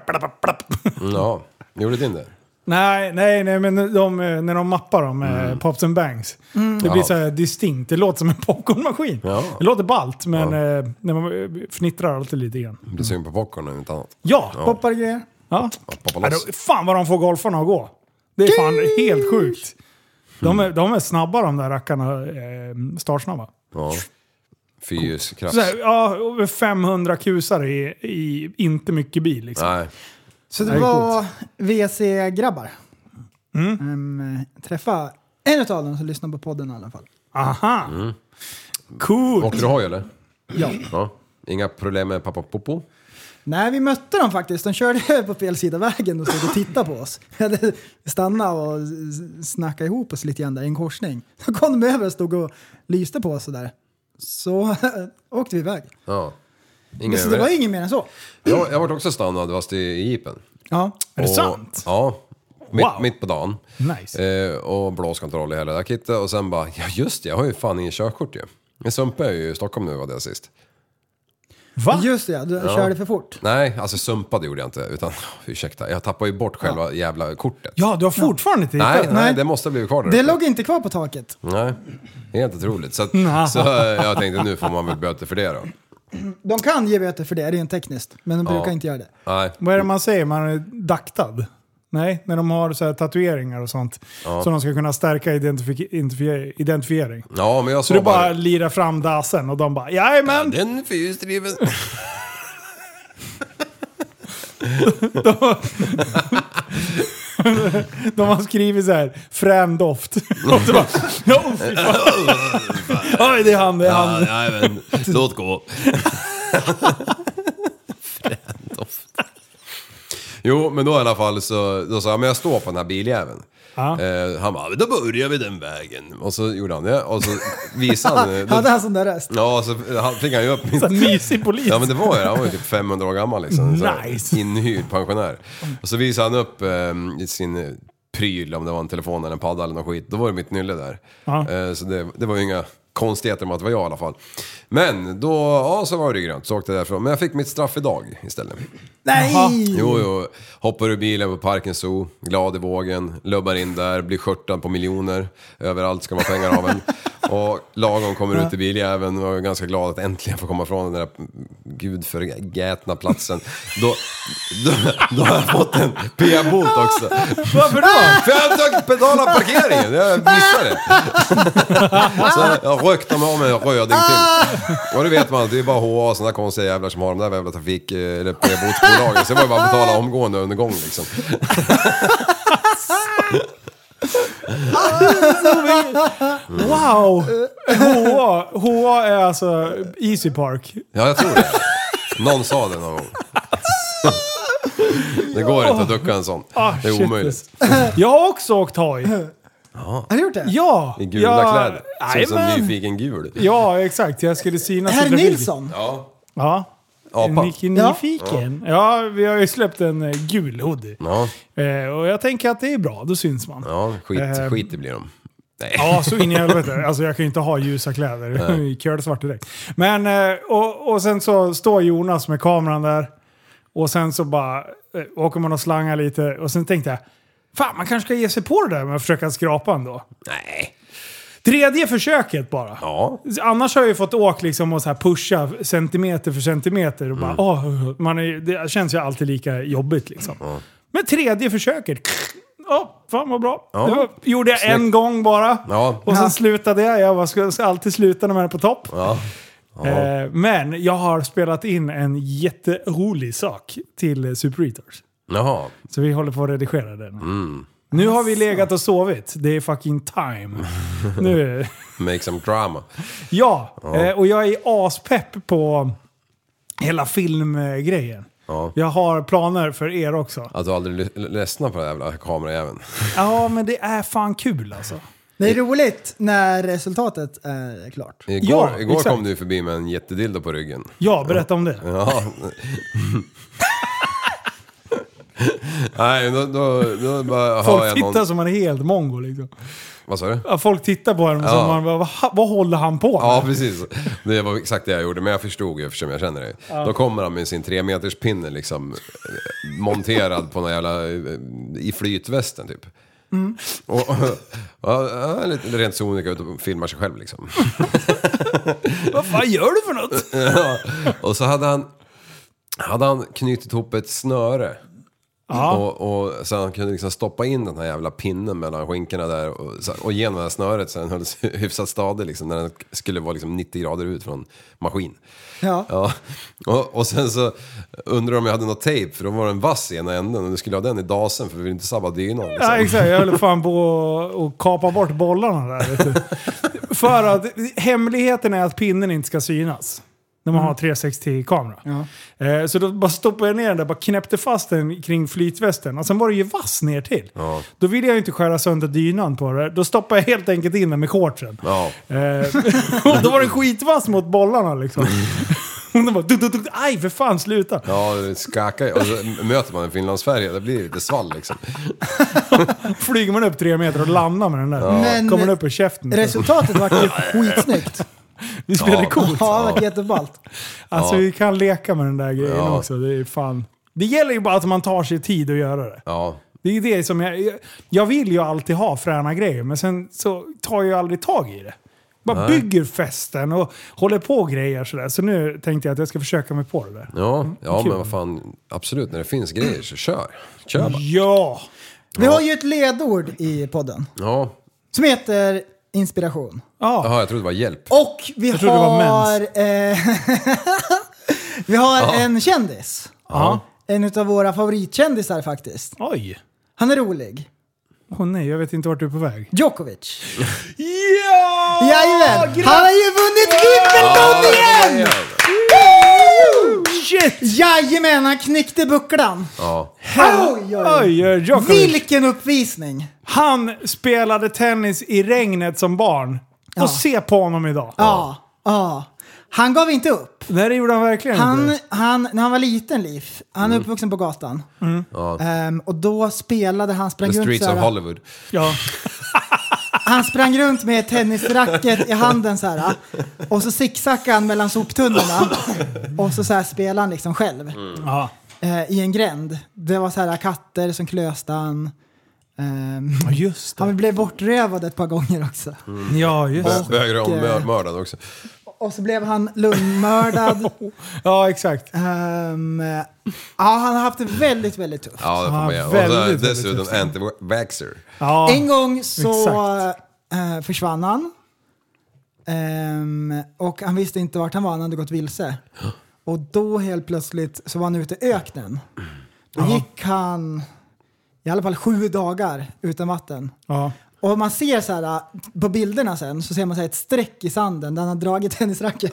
Mm, Ja. Gjorde din det? Nej, nej, nej, men de, eh, när de mappar dem, mm. Pops and Bangs. Mm. Det blir Ja. så här distinkt. Det låter som en popcornmaskin. Ja. Det låter ballt, men Ja. eh, när man eh, fnittrar alltid lite grann. Jag blir sugen på popcorn om inte annat. Ja! ja. Poppar grejer. ja. Poppa Ja, loss. då, fan vad de får golfarna att gå. Det är fan helt sjukt. De Mm. är, de är snabba de där rackarna. Eh, startsnabba. Ja. Fyrhjulskraft. Så här, ja, över 500 kusar i, i inte mycket bil. Liksom. Nej. Så det Det är var WC-grabbar. Mm. Ehm, träffa en av dem som lyssnar på podden i alla fall. Aha! Mm. Cool! Åkte du hoj eller? Ja. Ja. Inga problem med pappa Popo? Nej, vi mötte dem faktiskt. De körde på fel sida vägen och stod och tittade på oss. Vi hade stannat och s- snackat ihop oss lite grann där i en korsning. Då kom de över och stod och lyste på oss sådär. Så åkte vi iväg. Ja. Inga Så det var överrätt. inget mer än så. Jag, jag vart också stannad fast i i jeepen. Ja. är det Och- sant? Ja. Mitt, Wow. mitt på dagen. Nice. Eh, och blåskontroll i hela det där kittet. Och sen bara, ja just det, jag har ju fan ingen körkort ju. Jag sumpade ju i Stockholm nu var det sist. Va? Just det, du körde för fort. Nej, alltså sumpade gjorde jag inte. Utan, ursäkta, jag tappade ju bort själva jävla kortet. Ja, du har fortfarande inte Nej, hittat nej, den? det måste ha blivit kvar där Det uppe. låg inte kvar på taket. Nej, helt otroligt. Så, att, Mm, så eh, jag tänkte nu får man väl böter för det då. De kan ge böter för det, rent tekniskt. Men de brukar inte göra det. Nej, Vad är det man säger? Man är daktad? Nej, när de har så här tatueringar och sånt. Så de ska kunna stärka identifi- identifi- identifiering. ja men jag Så såg du bara lirar fram dasen och de bara jajamän! Den fyrhjulsdriven. De har skrivit så här frän doft. och så bara, "Ja, oh, fy fan." Oj, det är han, det är han. Ja, nej men, låt gå. Frändoft. Jo, men då i alla fall så då sa jag, men jag står på den här biljäveln. Ja. Eh, han bara, då börjar vi den vägen. Och så gjorde han det och så visade han... eh, Hade då, han sån där röst? ja, så han- fick han ju upp mitt... Så här mysig polis. Ja men det var ju det. han var ju typ 500 år gammal liksom. Så här, Nice. Inhyrd pensionär. Och så visade han upp eh, sin eh, pryl, om det var en telefon eller en padda eller något skit. Då var det mitt nylle där. Ja. Eh, så det, det var ju inga konstigheter med att det var jag i alla fall. Men då, ja så var det ju grönt, så åkte jag därifrån. Men jag fick mitt straff idag istället. Nej! Jo, jo. Hoppar ur bilen på Parken Zoo, glad i vågen, lubbar in där, blir skörtad på miljoner. Överallt ska man ha pengar av en. Och lagom kommer ut i biljäveln och är ganska glad att äntligen få komma från den där gudförgätna platsen. Då, då, då har jag fått en p-bot också. Varför då? För jag har inte betalat parkeringen, jag missade det. Så jag rökte mig om en röding till. Och det vet man, det är bara HA och sådana konstiga jävlar som har de där jävla trafik eh, eller p-botsbolagen. Så det var ju bara att betala omgående under gång liksom. Wow! HA, HA är alltså Easy Park. Ja, jag tror det. Någon sa det någon gång. Det går inte att ducka en sån. Ah, Det är shit. alltså. omöjligt. Jag har också åkt hoj. Har du gjort det? Ja! I gula jag, kläder. Ser ut som Jajamän. nyfiken gul. Ja, exakt. Jag skulle synas i Herr trafik. Nilsson! Ja. Ja. Apa. Ni- Nyfiken. Ja. vi har ju släppt en eh, gul hoodie. Ja, Eh, och jag tänker att det är bra, då syns man. Ja, ja skit, Ehm. skit det blir de. Nej. så in i helvete. Alltså jag kan ju inte ha ljusa kläder. Kölsvart direkt. Men, eh, och, och sen så står Jonas med kameran där. Och sen så bara eh, åker man och slangar lite. Och sen tänkte jag, fan man kanske ska ge sig på det där med att försöka skrapa ändå. Nej. Tredje försöket bara. Ja. Annars har jag ju fått åka liksom och så här pusha centimeter för centimeter. Och bara, Mm. åh, man är, det känns ju alltid lika jobbigt. Liksom. Men tredje försöket. Oh, fan vad bra. Ja. Det var, gjorde jag en gång bara. Ja. Och sen slutade jag. Jag bara, ska, ska alltid sluta när man är på topp. Ja. Eh, men jag har spelat in en jätterolig sak till eh, Super Retors. Jaha. Så vi håller på att redigera den. Mm. Nu har vi legat och sovit. Det är fucking time. nu. Make some drama. Ja, eh, och jag är aspepp på hela filmgrejen. Ja. Jag har planer för er också. Att du aldrig ly- ledsnar på den jävla kamerajäveln. Ja, men det är fan kul alltså. Det är roligt när resultatet är klart. Igår, Ja, igår exakt. kom du förbi med en jättedildo på ryggen. Ja, berätta om det. Ja. Nej, då, då, då bara hör Folk jag tittar någon... som man är helt mongo liksom. Vad sa du? Ja, Folk tittar på en och så Ja. man bara, vad, vad håller han på med? Ja, precis. Det var exakt det jag gjorde, men jag förstod ju eftersom jag känner dig. Då kommer han med sin tre meters pinne liksom eh, monterad på någon jävla... eh, i flytvästen typ. Mm. Och, och, ja, lite rent sonika ut och filmar sig själv liksom. Vad fan gör du för något? Ja. Och så hade han, hade han knutit ihop ett snöre. Och, och så han kunde liksom stoppa in den här jävla pinnen mellan skinkorna där och, så- och genom det här snöret så den höll sig hyfsat stadig liksom när den skulle vara liksom 90 grader ut från maskin. Ja. Ja. Och, och sen så undrade de om jag hade något tejp för då var den vass i ena änden och nu skulle jag ha den i dasen för vi vill inte sabba dynan. Liksom. Ja, exakt. Jag höll fan på att kapa bort bollarna där. Vet du. För att hemligheten är att pinnen inte ska synas. När Mm. man har 360-kamera. Eh, så då bara stoppade jag ner den där, bara knäppte fast den kring flytvästen. Och sen var det ju vass ner till. Då ville jag ju inte skära sönder dynan på det. Då stoppade jag helt enkelt in den med shortsen. Ja. Eh, och då var den skitvass mot bollarna liksom. Och de bara, du, du, du, aj för fan sluta. Ja, det skakar ju. Och så möter man en Finlandsfärja, det blir lite svall liksom. Flyger man upp tre meter och landar med den där. Men- Kommer den upp i käften. Resultatet vart ju skitsnyggt. Vi spelade Ja. coolt. Ja, det vart jätteballt. Alltså Ja. vi kan leka med den där grejen Ja. också. Det är fan... Det gäller ju bara att man tar sig tid att göra det. Ja. Det är det som jag... Jag vill ju alltid ha fräna grejer, men sen så tar jag aldrig tag i det. Bara bygger festen och håller på grejer sådär. Så nu tänkte jag att jag ska försöka mig på det där. Ja, ja kul. men vad fan, absolut när det finns grejer så kör. Kör bara. Ja! Vi har ju ett ledord i podden Ja, som heter inspiration. ja. Jaha, jag trodde det var hjälp. Och vi trodde det var har... Eh, vi har en kändis. ja. En av våra favoritkändisar faktiskt. Oj! Han är rolig. Åh nej, jag vet inte vart du är på väg. Djokovic. Ja! Jajamän! Han har ju vunnit Wimbledon igen! Shit! Jajamän, han knäckte bucklan. Ja. Oj, oj. Oj, oj, Djokovic. Vilken uppvisning! Han spelade tennis i regnet som barn. Ja. Och se på honom idag. Ja, ja. Han gav inte upp. Nej, det gjorde han verkligen Han, inte. han, när han var liten, Liv, han är uppvuxen på gatan. Ehm, och då spelade han, sprang The runt streets så of här, Hollywood. Ja. han sprang runt med ett tennisracket i handen så här. Och så zigzackade han mellan soptunnorna. Och så, så här spelade han liksom själv. Mm. Ja. eh, I en gränd. Det var så här katter som klöste han. Ehm, Ja, just det. han blev bortrövad ett par gånger också. Mm. Ja, just det. Bö- Böger om eh, mör- mördad också. Och så blev han lungmördad. Ja, exakt. Ehm, ja, han har haft det väldigt, väldigt tufft. Ja, det får Ah, man göra. väldigt, Och väldigt så dessutom tufft. anti-vaxxer. Ja. En gång så exakt. eh, försvann han. Ehm, och han visste inte vart han var, han hade gått vilse. Och då helt plötsligt så var han ute i öknen. Då gick han i alla fall sju dagar utan vatten. Ja. Och man ser så här, eh, på bilderna sen så ser man så här ett streck i sanden där han har dragit tennisracket.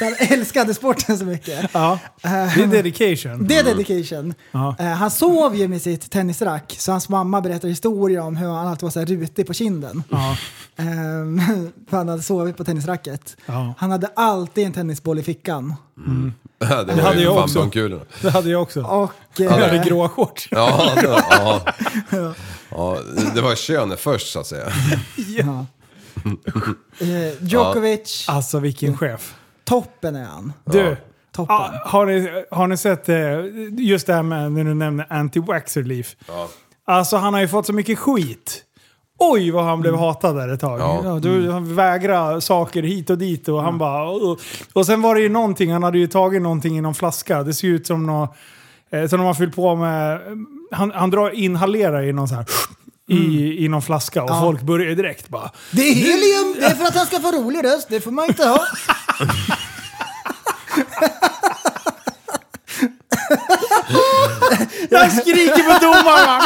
han älskade sporten så mycket. ja. Eh. Det är dedication. Det är dedication. Mm. Ja. Eh, han sov ju med sitt tennisrack, så hans mamma berättar historier om hur han alltid var så här rutig på kinden. Ja. Ehm, för han hade sovit på tennisracket. Ja. Han hade alltid en tennisboll i fickan. det Det var hade ju jag fan också. blomkulorna. Det hade jag också. Och... Jag eh, hade gråa shorts. Ja, det- ja. ja, det var könet först så att säga. Ja. Eh, Djokovic, Alltså vilken chef. toppen är han. Du, Toppen. ah, har, ni, har ni sett eh, just det här med när du nämner anti-waxer Leaf? Alltså han har ju fått så mycket skit. Oj vad han blev hatad där ett tag. Ja. Ja. Mm. Du, han vägrade saker hit och dit och han bara... "Ugh." Och sen var det ju någonting, han hade ju tagit någonting i någon flaska. Det ser ju ut som något... Eh, som de har fyllt på med... Han, han drar, inhalerar i någon så här... Mm. I, i någon flaska och folk börjar ju direkt bara... Det är helium! Det är för att han ska få rolig röst, det får man inte ha. Jag skriker på domaren!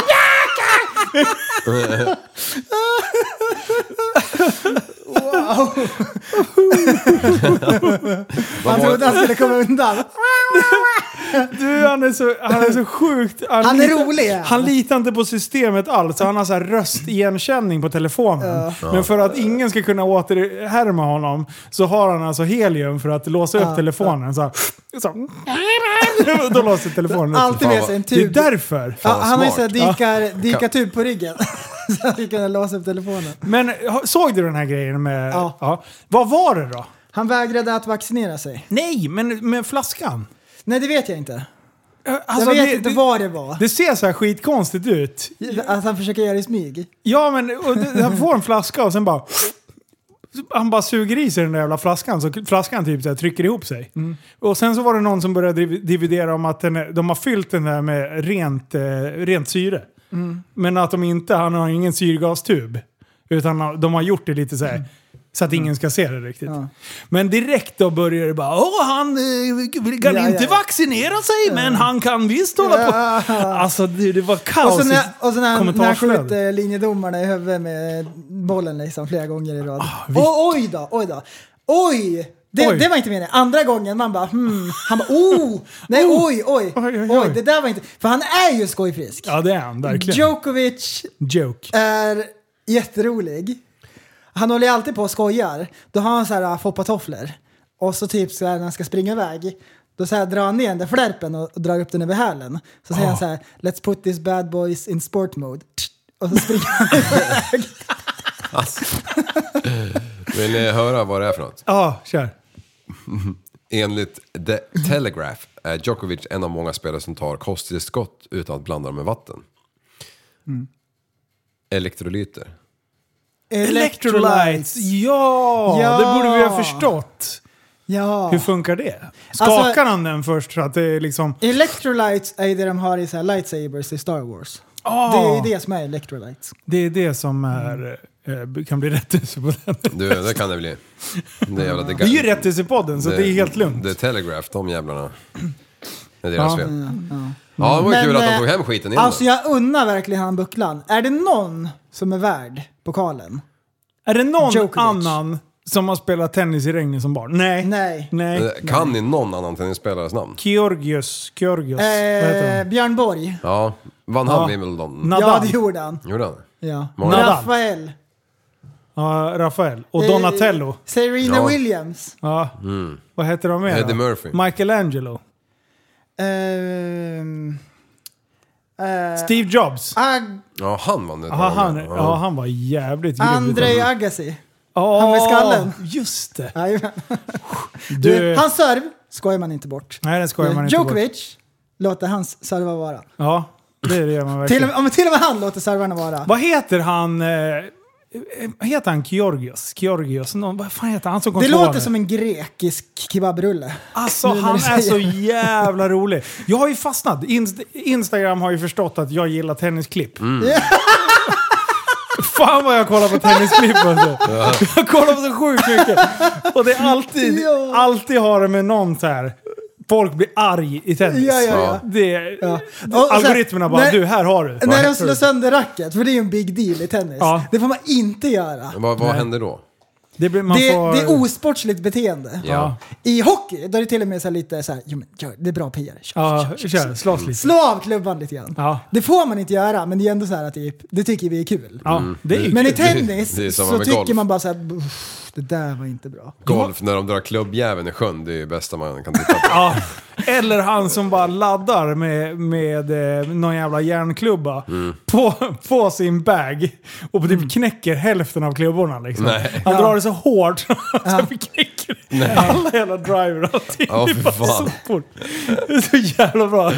Man trodde han skulle komma undan. Du, han är så, han är så sjukt... Han är litar- rolig, ja. Han litar inte på systemet alls, så han har så här röstigenkänning på telefonen. Men för att ingen ska kunna återhärma honom så har han alltså helium för att låsa upp telefonen. Så här, så här, då låser telefonen upp. Alltid med sig en Det är tub. därför. Ja, han har ju sån här smart. dykar, dykartub på ryggen. Så han fick kunna låsa upp telefonen. Men ha- såg du den här grejen med... Ja. Ja. Vad var det då? Han vägrade att vaccinera sig. Nej, men med flaskan. Nej, det vet jag inte. Alltså, jag vet det, inte det, vad det var. det ser så här skitkonstigt ut. Att han försöker göra det i smyg. Ja, men och, det- han får en flaska och sen bara... Han bara suger i sig den där jävla flaskan så flaskan typ så här, trycker ihop sig. Mm. Och sen så var det någon som började div- dividera om att den, är- de har fyllt den där med rent, eh, rent syre. Mm. Men att de inte, han har ingen syrgastub. Utan han- de har gjort det lite så Mm. här. Så att ingen ska se det riktigt. Men direkt då börjar det bara Åh, han eh, kan Ja, ja, inte ja. vaccinera sig men han kan visst hålla på. Alltså det, det var Och kaos så när, i och så när, han, när han kommentarsflödet. skjuter linjedomarna i huvudet med bollen liksom flera gånger i rad. och, oj då, oj då. Oj! Det, Ah, Oj. det var inte meningen. Andra gången man bara hmm. Han bara oh! Nej oj, oj, Oj, oj, oj, oj. Det där var inte... För han är ju skojfrisk. Ja det är han verkligen. Djokovic Joke. är jätterolig. Han håller ju alltid på och skojar. Då har han så här foppatofflor. Och så typ så här när han ska springa iväg. Då så här drar han ner den där flärpen och, och drar upp den över hälen. Så Ah. säger han så här Let's put these bad boys in sport mode. Och så springer han. Vill ni höra vad det är för något? Ja, Ah, kör. Enligt The Telegraph är Djokovic en av många spelare som tar kosttillskott utan att blanda dem med vatten. Mm. Elektrolyter. Electrolytes. Ja, Ja. det borde vi ha förstått. Ja. Hur funkar det? Skakar Alltså- han den först så att det är liksom... Electrolytes är ju det de har i så här lightsabers i Star Wars. Ah. Det är ju det som är electrolytes. det är det som är, eh, kan bli rättelse på den. Du, det kan det bli. Det, är jävla, Det är ju rättelsepodden så det, är helt lugnt. The Telegraph, de jävlarna. Det är deras Ja. fel. Ja, det var ju Men, kul att eh, de tog hem skiten innan. Alltså jag unnar verkligen han bucklan. Är det någon som är värd pokalen? Är det någon Djokovic. annan som har spelat tennis i regnet som barn? Nej. Nej. Nej. Eh, Kan ni någon annan tennisspelares namn? Georgios. Georgios. Vad heter Eh, han? Björn Borg. Ja, vann han Ja. Wimbledon? Nadal. Ja, det gjorde han. Gjorde han? Ja. Nadal. Rafael. Ja, Rafael. Och Donatello. Eh, Serena Ja. Williams. Ja. Vad heter de mer? då? Eddie Murphy. Michelangelo. Eh, Ehm, eh, Steve Jobs. Ag- Ja, han vann utan Ja, han, någon. ja, han var jävligt grym. Andrei Agassi. Ja, han med skallen. Just det. Jajamän. Du, Hans serv skojar man inte bort. nej, den skojar man inte bort. Djokovic låter hans servar vara. Ja, det, det gör man Till, och verkligen. med- ja, men till och med han låter servarna vara. Vad heter han? Eh, heter han Georgios? Georgios? Någon, vad fan heter han som kom Det tvåa låter nu? som en grekisk kebabrulle. Alltså nu när han du är så säger jävla rolig. Jag har ju fastnat. Inst- Instagram har ju förstått att jag gillar tennisklipp. Fan vad jag kollar på tennisklipp alltså. Jag kollar på så sjukt mycket. Och det är alltid, Ja. alltid har det med någon så här. Folk blir arg i tennis. Ja, ja, ja. Det, Och så här, Algoritmerna bara, när- du här har du. När de slår sönder racket, för det är ju en big deal i tennis. Ja. Det får man inte göra. Vad, vad hände då? Det, blir, man Det, får, det är osportsligt beteende. Ja. I hockey, då är det till och med så här lite så här, jo, men, gör- det är bra PR. Kör, Ja, kör, kör, kör. Slåss lite. Slå av klubban lite grann. Ja. Det får man inte göra, men det är ändå så här att typ, det tycker vi är kul. Ja, det är ju Men i kul. tennis Det är samma så med tycker golf. man bara så här, "Uff, Det där var inte bra. Golf när de drar klubbjäveln i sjön, det är ju bästa man kan titta på. Ja. Eller han som bara laddar med, med eh, någon jävla järnklubba Mm. på, på sin bag och typ knäcker hälften av klubborna. Liksom. Nej. Han drar det så hårt så att det knäcker alla jävla driver och allting. Ja, det fy är bara fan. sopor. Det är så jävla bra.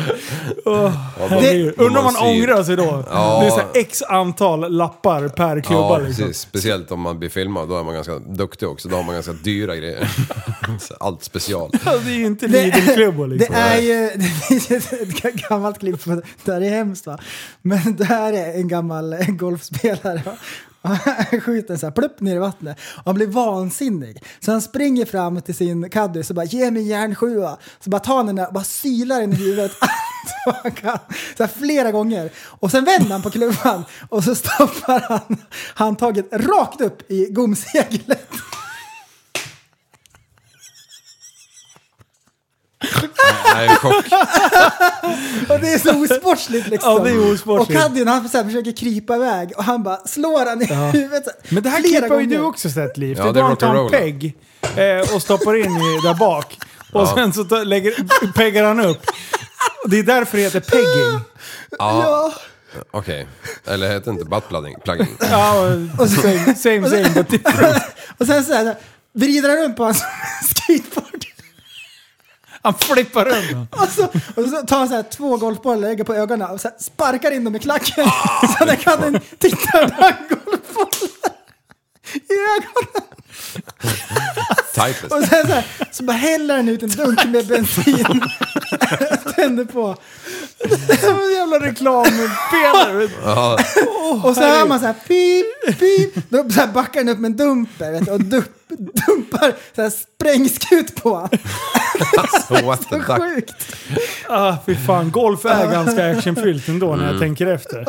Oh, herregud. Undrar om man ser- ångrar sig då. Ja. Det är så här x antal lappar per klubba. Ja, liksom. precis. Speciellt om man blir filmad, då är man ganska duktig också. Då har man ganska dyra grejer. Så Allt special. Ja, Det är ju inte Lidl-klubbor Det liksom. är ju det finns ju ett gammalt klipp, på det det här är hemskt va. Men det här är en gammal eh, golfspelare. va. Han skjuter så här, plupp ner i vattnet. Och han blir vansinnig. Så han springer fram till sin caddy och bara ge mig järnsjua. Så bara tar han den där och bara sylar den i huvudet. allt vad han kan. Så här, flera gånger. Och sen vänder han på klubban och så stoppar han handtaget rakt upp i gomseglet. Jag är i chock. Och det är så osportsligt liksom. Ja, det är osportsligt. Och Kaddin han så här, försöker krypa iväg och han bara slår han i huvudet. så här, Men det här flera klippet har ju du gånger. också sett Liv. Ja, det det är var han tar en rock'n'roll. pegg eh, och stoppar in i, där bak. Och sen så tar, lägger, peggar han upp. Och Det är därför det heter pegging. Ja. Okej. Eller heter det inte buttplugging? Plugging. Ja, och same, same, same but different. Och sen så här, vrider han runt på hans skateboard. Han flippar runt. Och så, och så tar han så här två golfbollar, lägger på ögonen och så här, sparkar in dem i klacken. så när Kaddin tittar på han golfbollar i ögonen. Typiskt. Och sen så, här, så bara häller han ut en dunk med bensin. Tänder på. Som en jävla reklampelare. Ja, Och så hör man så här pip, pip. Då så här backar den upp med en dumper vet du, och dump, dumpar så här sprängskut på honom. what the duck. Sjukt. Ah, fy fan, golf är ganska actionfyllt ändå när Mm. jag tänker efter.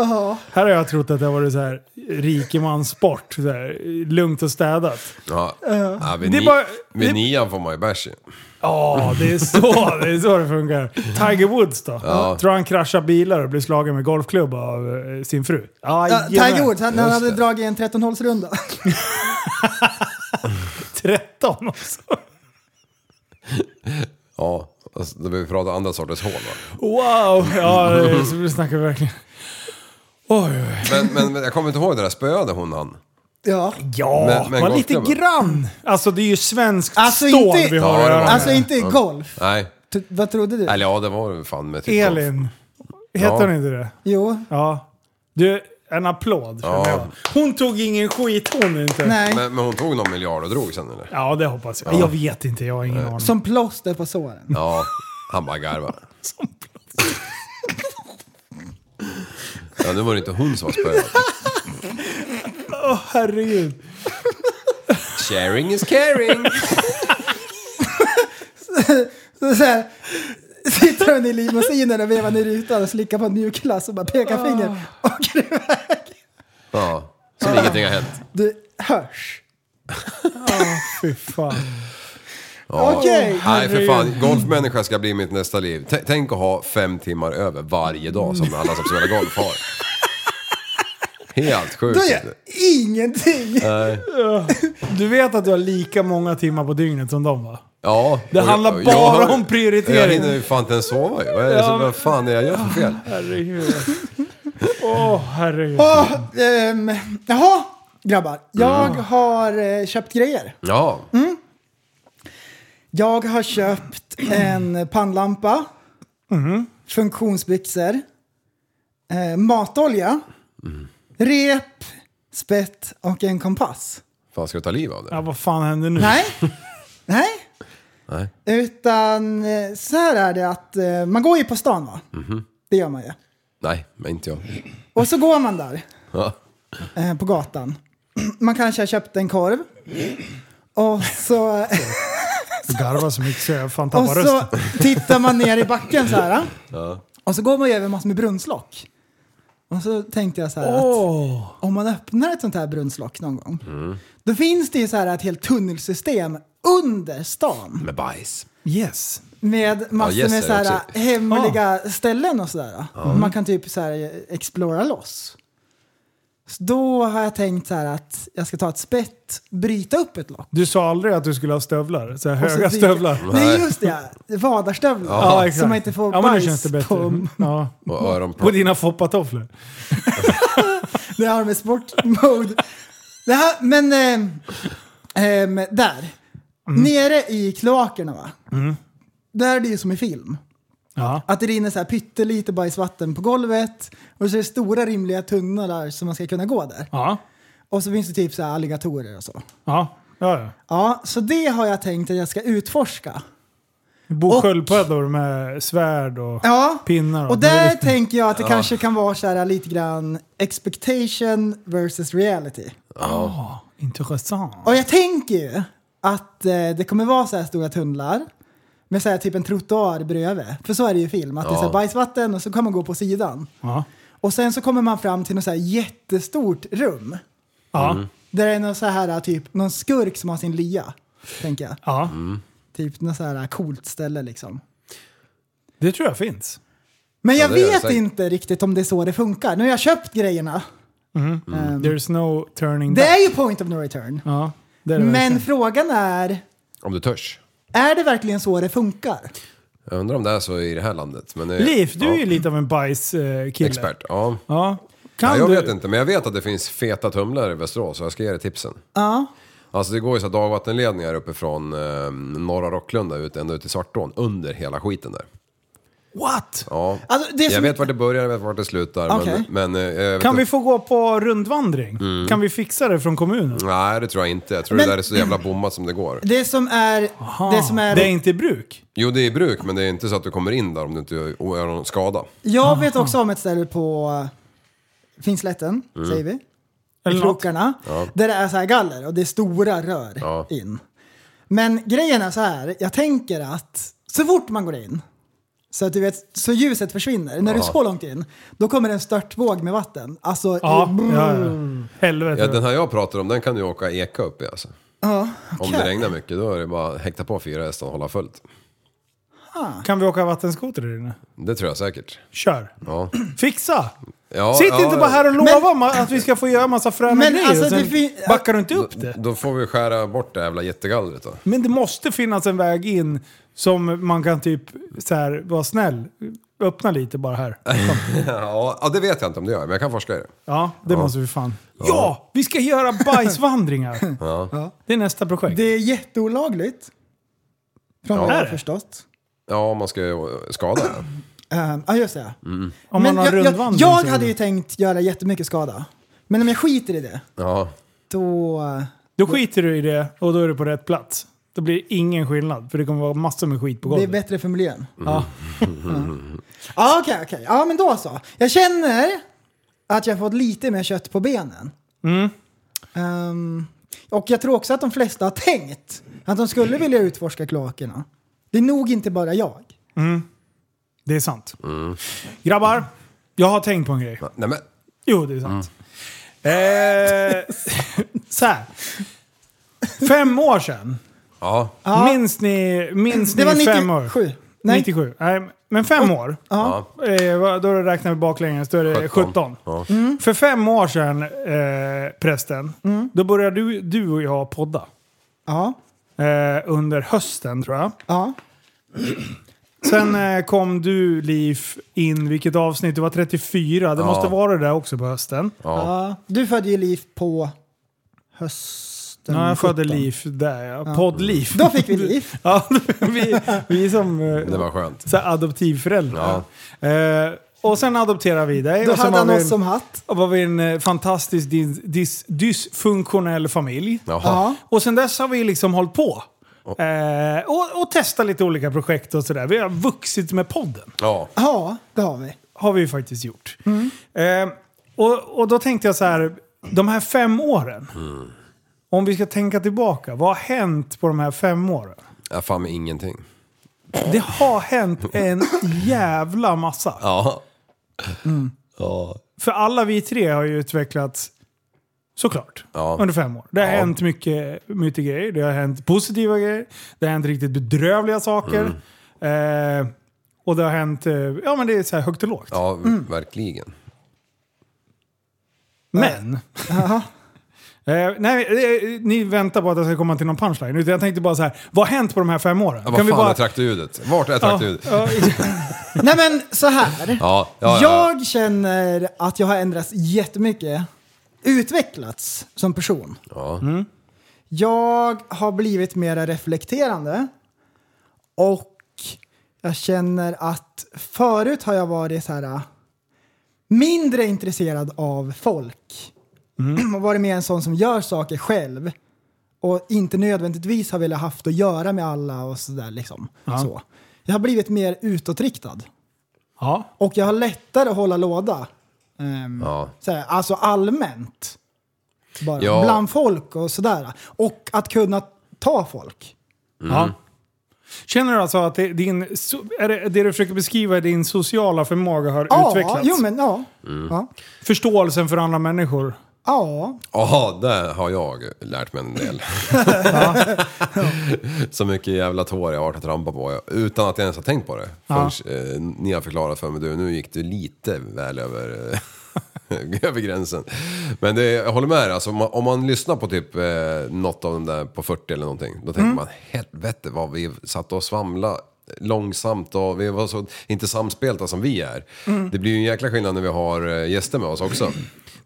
Här har jag trott att det har varit så här rikemanssport. Så här, lugnt och städat. Ja. Ja, Eh, vid, Det är ni- bara- vid det- nian får man ju bärs ju. Ja, det är så det, är så det funkar. Tiger Woods då? Tror han kraschar bilar och blir slagen med golfklubba av eh, sin fru? Ja, Jajamän. Tiger Woods, han, han hade dragit en 13-hålsrunda. 13 också. Ja. Alltså, då behöver vi prata andra sorters hål va? Wow! Ja, det är- så snackar vi verkligen. Oj, oj, oj. Men, men, men jag kommer inte ihåg det där, spöade hon han? Ja. Ja, Men- men men lite golfklubba? grann. Alltså det är ju svenskt Alltså, stål inte- vi har Ja, att det Typ göra var med. Alltså inte i golf. Nej. T- vad trodde du? Eller ja, det var det fan med typ Elin. Heter Ja. hon inte det? Jo. Ja. Du, en applåd för Ja. mig. Hon tog ingen skit hon inte. Nej. Men, men hon tog någon miljard och drog sen eller? Ja, det hoppas jag. Jag vet inte, jag har ingen aning. Som plåster på såren. Ja. Han bara garvade. Ja, nu var det inte hon som var spöad. Herregud. Sharing is caring. Så, så här, sitter hon i limousinen och vevar ner rutan och slickar på en mjukglass och bara pekar finger. Ah. Och iväg. Ja. Som ingenting har hänt. Du hörs. Fy fan. Ja. Okej. Nej för fan, golfmänniska ska bli mitt nästa liv. T- tänk att ha fem timmar över varje dag som alla som spelar golf har. Helt sjukt. Då gör jag ingenting. Du vet att du har lika många timmar på dygnet som de va? Ja. Det och handlar jag- bara jag- om prioritering. Jag hinner ju fan inte ens sova ju. Vad, är det, som- Ja, men- vad fan är jag gör för fel? Herregud. Åh herregud. Oh, ehm, jaha, grabbar. Jag har eh, köpt grejer. Ja. Jag har köpt en pannlampa, Mm-hmm. funktionsbyxor, eh, matolja, rep, spett och en kompass. Fan ska du ta liv av Ja, det? vad fan händer nu? Nej, nej. Nej. Utan eh, så här är det att eh, man går ju på stan va? Mm-hmm. Det gör man ju. Nej, men inte jag. Och så går man där. Ja. eh, på gatan. Man kanske har köpt en korv. Och så, Du garvar så mycket så jag fan och tappar så rösten. tittar man ner i backen så här. Och så går man ju över massor med brunnslock. Och så tänkte jag så här Åh. att om man öppnar ett sånt här brunnslock någon gång. Då finns det ju så här ett helt tunnelsystem under stan. Med bajs. Yes. Med massor yes, med det så här också. Mm. hemliga ställen och sådär. Man kan typ så här explora loss. eh, Så då har jag tänkt så här att jag ska ta ett spett, bryta upp ett lock. Du sa aldrig att du skulle ha stövlar? Så här Och så höga dyker- stövlar? Nej just det, vadarstövlar. Ja, så man inte får ja, men nu bajs känns det bättre. på... Ja. Och På öronpropp. dina foppatofflor? Det här med sportmode. Det här, men... ehm, ehm, där. Mm. Nere i kloakerna va? Där är det ju som i film. Ja. Att det rinner så här pyttelite bajsvatten på golvet och så är det stora rimliga tunnlar som man ska kunna gå där. Ja. Och så finns det typ så här alligatorer och så. Ja. ja, ja. Ja, så det har jag tänkt att jag ska utforska. Bo Och- sköldpaddor med svärd och Ja, pinnar. och där tänker jag att det kanske kan vara så här lite grann expectation versus reality. Intressant. Och jag tänker ju att eh, det kommer vara så här stora tunnlar med så här typ en trottoar bredvid. För så är det ju i film, att det är så här bajsvatten och så kan man gå på sidan. Ja. Och sen så kommer man fram till något så här jättestort rum. Ja. Mm. Där det är någon så här typ, någon skurk som har sin lya. Tänker jag. ja. Mm. Typ något så här coolt ställe liksom. Det tror jag finns. Men jag det är det vet säkert. inte riktigt om det är så det funkar. Nu har jag köpt grejerna. Ehm, There's no turning det back. är ju point of no return. Mm. Ja, det är det Men verkligen. frågan är, Om du törs. är det verkligen så det funkar? Jag undrar om det är så i det här landet. Men, eh, Liv, du är ju ja. lite av en bajskille. Expert, ja. Ja. Kan Nej, jag du? vet inte, men jag vet att det finns feta tumlare i Västerås, så jag ska ge dig tipsen. Ja. Alltså det går ju så här dagvattenledningar uppifrån eh, norra Rocklunda ut, ända ut till Svartån, under hela skiten där. What? Ja. Alltså, det är jag som- vet vart det börjar, jag vet vart det slutar. Okej. Men, men, eh, jag vet Kan vi inte- få gå på rundvandring? Mm. Kan vi fixa det från kommunen? Nej, det tror jag inte. Jag tror Men- det där är så jävla bommat som det går. Det som är... Det som är, Det är inte i bruk? Jo, det är i bruk, men det är inte så att du kommer in där om du inte gör gör någon skada. jag vet också om ett ställe på Finslätten, säger vi. I Eller något? krokarna. Där det är så här galler och det är stora rör Ja. in. Men grejen är så här, jag tänker att så fort man går in, så att du vet, så ljuset försvinner. När du är så långt in, då kommer det en störtvåg med vatten. Alltså, Ja, i, ja, ja. Helvete. Ja, den här jag pratar om, den kan du åka eka upp i alltså. Om okej. det regnar mycket, då är det bara att häkta på fyra hästar och hålla fullt. Kan vi åka vattenskoter där inne? Det tror jag säkert. Kör! Ja. Fixa! Ja, Sitt ja, inte bara här och lova Men- ma- att vi ska få göra massa fräna Men grejer alltså, och sen det fin- backar du inte upp det. Då får vi skära bort det jävla jättegallret då. Men det måste finnas en väg in som man kan typ så här, vara snäll. Öppna lite bara här. Ja, ja, det vet jag inte om det gör, men jag kan forska i det. Ja, det måste vi fan. Ja. vi ska göra bajsvandringar! Det är nästa projekt. det är jätteolagligt. Från vad jag Är har det? förstått. Ja, om man ska eh, skada det. Ehm, Ja, just det. Mm. Om Men man har jag, jag, rundvandring jag så- hade ju tänkt göra jättemycket skada. Men om jag skiter i det, Ja. då... Då skiter du i det och då är du på rätt plats. Då blir det ingen skillnad, för det kommer vara massor med skit på Det är golvet. Mm. bättre för miljön. ja. Ja, okej, okej. Ja, men då så. Jag känner att jag fått lite mer kött på benen. Mm. Ehm, och jag tror också att de flesta har tänkt att de skulle vilja utforska kloakerna. Det är nog inte bara jag. det är sant. Grabbar, jag har tänkt på en grej. Nej men, Jo, det är sant. Eh, så här. Fem år sedan. ja. Minns ni, minns Det ni var fem år? 97. Nej. 97. Nej, men fem år. ja. Eh, vad- då räknar vi baklänges, då är det 17. Ja. Mm. För fem år sedan, eh, prästen, då började du, du och jag podda. Ja, Eh, under hösten tror jag. ja. Sen eh, kom du, Liv, in, vilket avsnitt? Det var 34. Det Ja. måste vara det där också på hösten. ja. Du födde ju liv på hösten. Ja, jag födde 17. Liv där ja. Podd-Liv. Då fick vi liv. ja, vi, vi är som eh, Det var skönt. så här adoptivföräldrar. Eh, och sen adopterade vi dig. Då och sen hade var han vi oss en- som hatt. Och var vi en eh, fantastisk dis, dis, dysfunktionell familj. Jaha. Ja. Och sen dess har vi liksom hållit på. Eh, och, och testat lite olika projekt och sådär. Vi har vuxit med podden. Ja. Ja, det har vi. Har vi ju faktiskt gjort. Eh, och, och då tänkte jag så här, de här fem åren. Om vi ska tänka tillbaka, vad har hänt på de här fem åren? ja. Fan med ingenting. Det har hänt en jävla massa. Ja. Ja. För alla vi tre har ju utvecklats, såklart, Ja. under fem år. Det har Ja. hänt mycket, mycket grejer. Det har hänt positiva grejer. Det har hänt riktigt bedrövliga saker. Mm. Eh, och det har Mm. hänt, eh, ja men det är så här högt och lågt. Ja, verkligen. Men... Jaha. Eh, nej, eh, ni väntar på att jag ska komma till någon punchline. Utan Jag tänkte bara så här, vad har hänt på de här fem åren? Ja, vad fan är traktorljudet? Vart är Ja, traktorljudet? Ja, ja, Nej men så här. ja, ja, Jag känner att jag har ändrats jättemycket. Utvecklats som person. Mm. Ja. Jag har blivit mer reflekterande. Och jag känner att förut har jag varit så här äh, mindre intresserad av folk. Mm. Och varit mer en sån som gör saker själv. Och inte nödvändigtvis har velat haft att göra med alla och sådär liksom. Så. Jag har blivit mer utåtriktad. ja. Och jag har lättare att hålla låda. Ehm, Ja. såhär, alltså allmänt. Bara. Ja. Bland folk och sådär. Och att kunna ta folk. Mm. Ja. Känner du alltså att det, din, so- är det, det du försöker beskriva är din sociala förmåga har Ja, utvecklats? jo, men, ja. Mm. ja. Förståelsen för andra människor? ja. Jaha, där har jag lärt mig en del. så mycket jävla tår jag har varit att trampa på. Utan att jag ens har tänkt på det. Förrän, eh, ni har förklarat för mig, du, nu gick du lite väl över, eh, över gränsen. Men det, jag håller med dig, alltså, om, man, om man lyssnar på typ eh, något av de där på 40 eller någonting. Då tänker man, helvete vad vi satt och svamla långsamt och vi var så, inte samspelta som vi är. Det blir ju en jäkla skillnad när vi har eh, gäster med oss också.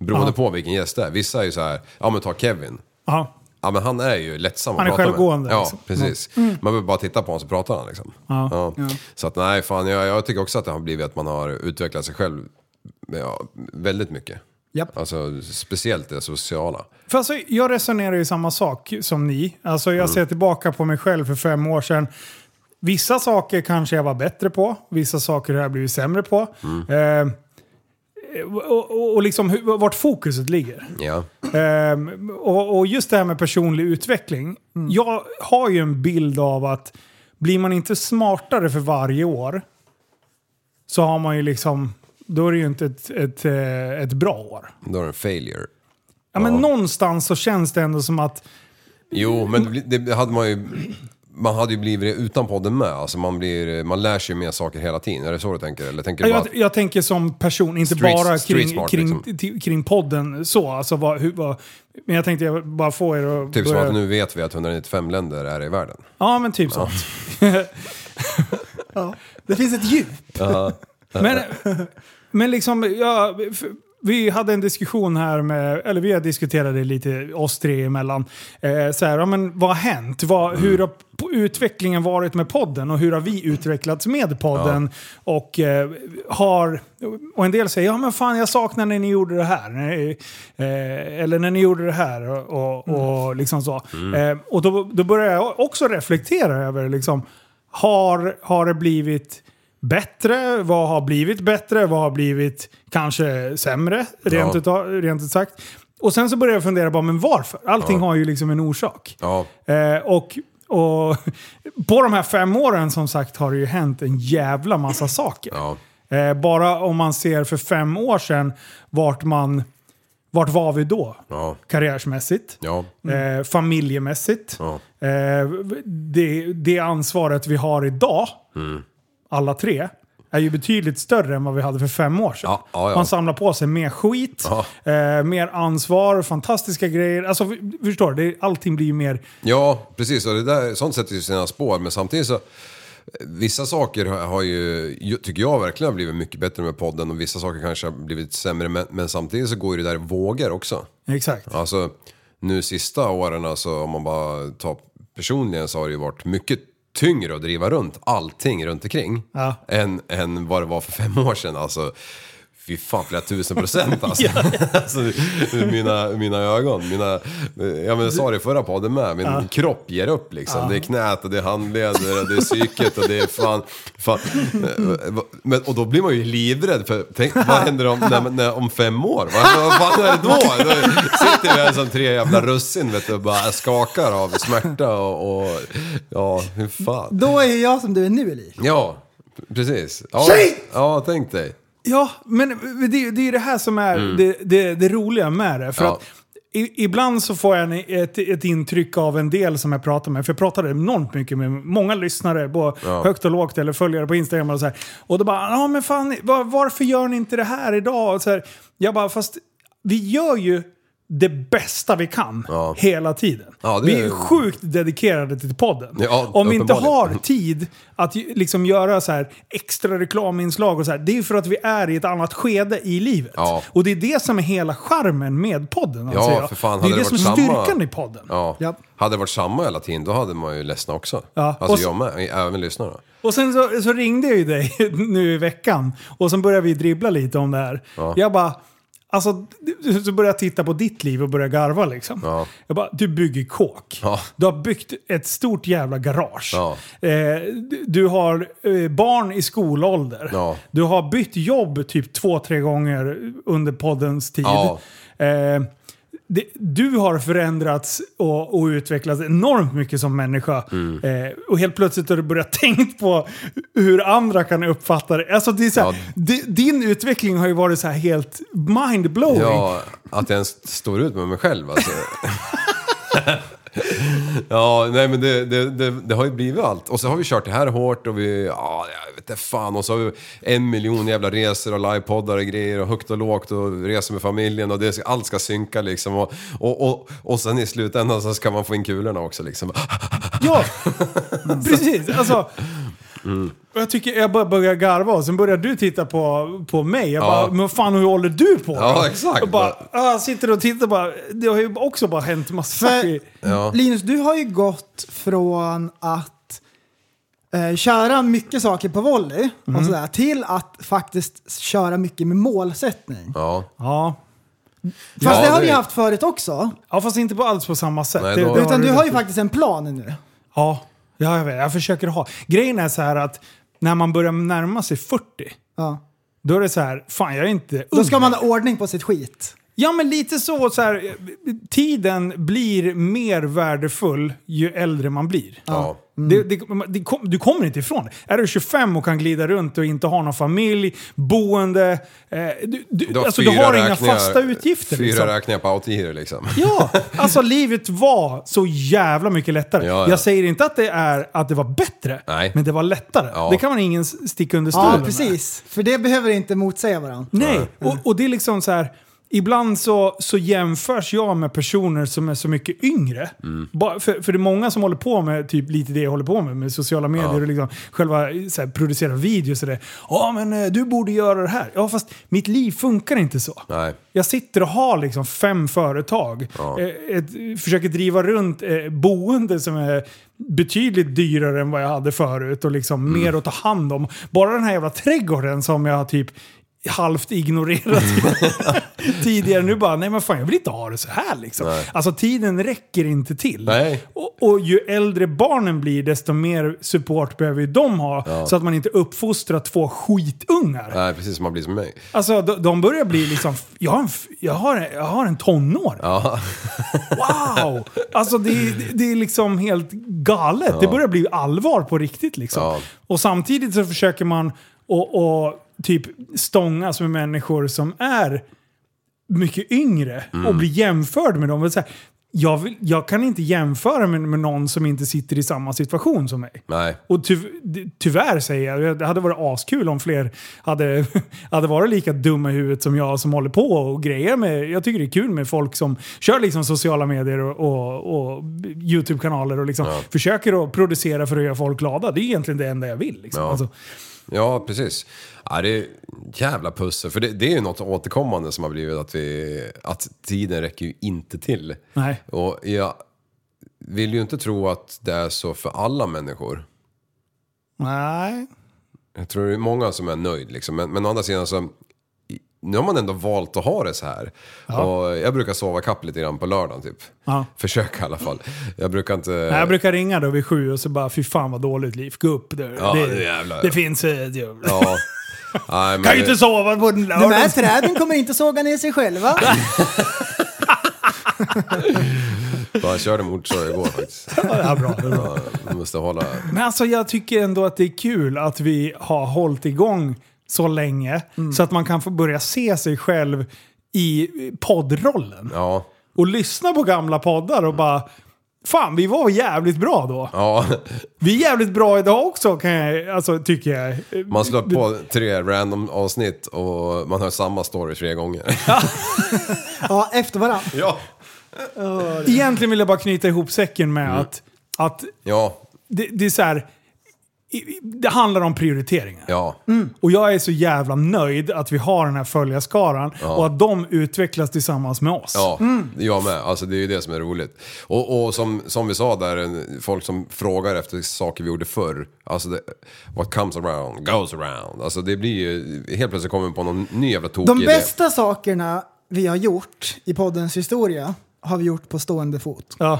Beroende på vilken gäst det är. Vissa är ju så här, ja men ta Kevin. Ja. Ja men han är ju lättsam Han är att prata självgående, med. Ja, liksom. precis. Man behöver bara titta på honom så pratar han liksom. Ja. Så att nej, fan jag, jag tycker också att det har blivit att man har utvecklat sig själv ja, väldigt mycket. Japp. Alltså speciellt det sociala. För alltså, jag resonerar ju samma sak som ni. Alltså, jag ser tillbaka på mig själv för fem år sedan. Vissa saker kanske jag var bättre på, vissa saker har jag blivit sämre på. Eh, och, och, och liksom hur, vart fokuset ligger. Ja. Ehm, och, och just det här med personlig utveckling. Jag har ju en bild av att blir man inte smartare för varje år så har man ju liksom, då är det ju inte ett, ett, eh, ett bra år. Då är det en failure. Ja, men Ja. någonstans så känns det ändå som att Jo, men det det hade man ju... Man hade ju blivit det utan podden med. Alltså man, blir, man lär sig ju mer saker hela tiden. Är det så du tänker? Eller tänker du bara... jag, jag tänker som person, inte Street- bara street kring, smart, kring, liksom. till- kring podden så. Alltså, vad, hur, vad, men jag tänkte jag bara få er att Typ som börja- att nu vet vi att 195 länder är i världen. Ja, men typ sånt. Det finns ett djup. Men, men liksom, ja, för- vi hade en diskussion här med, eller vi har diskuterat det lite oss tre emellan. Eh, så här, ja, men vad har hänt? Vad, hur har p- utvecklingen varit med podden och hur har vi utvecklats med podden? Och, eh, har, och en del säger, ja men fan jag saknar när ni gjorde det här. När ni, eh, eller när ni gjorde det här och, och, och liksom så. Eh, och då, då börjar jag också reflektera över, liksom, har, har det blivit bättre? Vad har blivit bättre? Vad har blivit kanske sämre? Rent, Ja. utav, rent ut sagt. Och sen så började jag fundera på, men varför? Allting har ju liksom en orsak. Ja. Eh, och, och på de här fem åren som sagt har det ju hänt en jävla massa saker. Ja. Eh, bara om man ser för fem år sedan vart man... Vart var vi då? Ja. Karriärsmässigt. Ja. Eh, familjemässigt. Mm. Ja. Eh, det, det ansvaret vi har idag, Mm. alla tre, är ju betydligt större än vad vi hade för fem år sedan. Ja, ja, ja. Man samlar på sig mer skit, eh, mer ansvar, fantastiska grejer. Alltså, vi- förstår du? Det- Allting blir ju mer... Ja, precis. Och det där, sånt sätter ju sina spår. Men samtidigt så... Vissa saker har har ju, ju- tycker jag verkligen har blivit mycket bättre med podden och vissa saker kanske har blivit sämre. Men, men samtidigt så går ju det där i vågor också. Exakt. Alltså nu sista åren, alltså, om man bara tar personligen så har det ju varit mycket tyngre att driva runt allting runt omkring Ja. än, än vad det var för fem år sedan. Alltså, fy fan flera tusen procent alltså. alltså mina, mina ögon, mina, ja men jag sa det i förra podden med, min kropp ger upp liksom. Det är knät och det är handleder och det är psyket och det är fan, fan. Eh, Men, och då blir man ju livrädd för tänk, vad händer om, när, när, om fem år? Vad, vad fan är det då? då sitter vi här som tre jävla russin vet du, och bara skakar av smärta och, och ja, hur fan. Då är ju jag som du är nu lik. Ja, precis. Ja, Shit! ja tänk dig. Ja, men det, det är ju det här som är det, det, det roliga med det. För Mm. Ja. att i, ibland så får jag en, ett, ett intryck av en del som jag pratar med. För jag pratar enormt mycket med många lyssnare, på högt och lågt, eller följare på Instagram och så här. Och då bara, ja men fan, var, varför gör ni inte det här idag? Och så här, jag bara, fast vi gör ju det bästa vi kan Ja. hela tiden. Ja, det vi är är- sjukt dedikerade till podden. Ja, Om vi inte uppenbarligen. har tid att ju- liksom göra så här extra reklaminslag och så här, det är ju för att vi är i ett annat skede i livet. Ja. Och det är det som är hela charmen med podden. Ja, anser jag. för fan, det är hade det det som är varit samma- styrkan i podden. Ja. Ja. Hade det varit samma hela tiden, då hade man ju ledsnat också. Ja, Alltså och s- jag med, även lyssnarna. Och sen så, så ringde jag ju dig nu i veckan och sen började vi dribbla lite om det här. Ja. Jag bara, alltså, så började jag titta på ditt liv och började garva liksom. Ja. Jag bara, du bygger kåk. Ja. Du har byggt ett stort jävla garage. Ja. Eh, du- du har eh, barn i skolålder. Ja. Du har bytt jobb typ två, tre gånger under poddens tid. Ja. Eh, det, du har förändrats och, och utvecklats enormt mycket som människa. Mm. Eh, och helt plötsligt har du börjat tänkt på hur andra kan uppfatta det. Alltså det är så här, Ja. di- din utveckling har ju varit så här helt mindblowing. Ja, att jag ens står ut med mig själv alltså. Ja, nej men det, det, det, det har ju blivit allt. Och så har vi kört det här hårt och vi, ja, jag vet inte fan. Och så har vi en miljon jävla resor och livepoddar och grejer och högt och lågt och resor med familjen och det, ska- allt ska synka liksom. Och, och, och, och sen i slutändan så ska man få in kulorna också liksom. Ja, precis. Alltså, och jag, tycker, jag bara börjar garva och sen börjar du titta på, på mig. Jag Ja. bara, men vad fan hur håller du på då?" Ja, exakt. Jag bara, ah, sitter och tittar bara, det har ju också bara hänt massa För- saker. Ja. Linus, du har ju gått från att eh, köra mycket saker på volley och sådär, till att faktiskt köra mycket med målsättning. Ja, Ja. Fast Ja, det har det- vi haft förut också. ja, fast inte på alls på samma sätt. Nej, Det- då- det Utan du rätt har ju i. faktiskt en plan nu. Ja, ja jag, vet, jag försöker ha. Grejen är så här att när man börjar närma sig 40, Ja. då är det så här, fan jag är inte Då ung. ska man ha ordning på sitt skit. Ja, men lite så. så här, tiden blir mer värdefull ju äldre man blir. ja. Mm. Det, det, det kom, du kommer inte ifrån det. Är du 25 och kan glida runt och inte ha någon familj, boende, eh, du, du, Du har, alltså, du fyra har inga räkningar- fasta utgifter. Fyra liksom. räkningar på autogiro liksom. Ja, alltså livet var så jävla mycket lättare. Ja, ja. Jag säger inte att det, är, att det var bättre, Nej. men det var lättare. Ja. Det kan man ingen sticka under stolen Ja, med. precis. För det behöver inte motsäga varandra. Nej, och, och det är liksom så här. Ibland så, så jämförs jag med personer som är så mycket yngre. Bara, för, för det är många som håller på med typ lite det jag håller på med, med sociala medier och liksom själva så här, producera videos och det. Ja, men eh, du borde göra det här. Ja, fast mitt liv funkar inte så. Nej. Jag sitter och har liksom fem företag. Eh, Ett, försöker driva runt eh, boende som är betydligt dyrare än vad jag hade förut och liksom mer att ta hand om. Bara den här jävla trädgården som jag har typ halvt ignorerat tidigare. Nu bara, nej men fan jag vill inte ha det så här liksom. Alltså tiden räcker inte till. Nej. Och, och ju äldre barnen blir desto mer support behöver ju de ha. Så att man inte uppfostrar två skitungar. Nej, precis som man blir som mig. Alltså de, de börjar bli liksom, jag har en, f- jag har, en- jag har en tonår. Ja. Wow! Alltså det, är- det är liksom helt galet. Det börjar bli allvar på riktigt liksom. Ja. Och samtidigt så försöker man och, och typ stångas med människor som är mycket yngre Mm. och bli jämförd med dem. Och Så här, jag, vill, jag kan inte jämföra mig med någon som inte sitter i samma situation som mig. Nej. Och ty, ty- tyvärr säger jag, det hade varit askul om fler hade, hade varit lika dumma i huvudet som jag som håller på och grejer med. Jag tycker det är kul med folk som kör liksom sociala medier och, och, och YouTube-kanaler och liksom försöker att producera för att göra folk glada. Det är egentligen det enda jag vill. Liksom. Ja. Alltså, Ja, precis. Ja, det är jävla pussel. För det, det är ju något återkommande som har blivit att, vi, att tiden räcker ju inte till. Nej. Och jag vill ju inte tro att det är så för alla människor. nej. Jag tror det är många som är nöjd liksom. Men, men å andra sidan så... i- Nu har man ändå valt att ha det så här. Och jag brukar sova kapp lite grann på lördagen typ. Ja. Försöka i alla fall. Jag brukar inte... Nej, jag brukar ringa då vid sju och så bara fy fan vad dåligt liv. Gå upp. Det, Ja, det, det jävlar. det finns... eh, Det, jag Ja. Nej, men kan ju det- inte sova på en De här lördag. träden kommer inte såga ner sig själva. Ja, Jag körde motorsåg igår faktiskt. Ja, bra. Ja, jag måste hålla... Men alltså jag tycker ändå att det är kul att vi har hållit igång så länge så att man kan få börja se sig själv i poddrollen. Ja. Och lyssna på gamla poddar och bara Fan, vi var jävligt bra då. Ja, Vi är jävligt bra idag också, kan jag, alltså, tycker jag. man slår på tre random avsnitt och man hör samma story tre gånger. Ja, efter varandra. Ja, Egentligen vill jag bara knyta ihop säcken med att, att ja, det, det är så här, i- i- det handlar om prioriteringar. ja. Och jag är så jävla nöjd att vi har den här följarskaran och att de utvecklas tillsammans med oss. Ja, jag med. Alltså det är ju det som är roligt. Och, och som, som vi sa där, folk som frågar efter saker vi gjorde förr. Alltså det, what comes around goes around. Alltså det blir ju, helt plötsligt kommer vi på någon ny jävla tokig De idé. bästa sakerna vi har gjort i poddens historia har vi gjort på stående fot. Ja.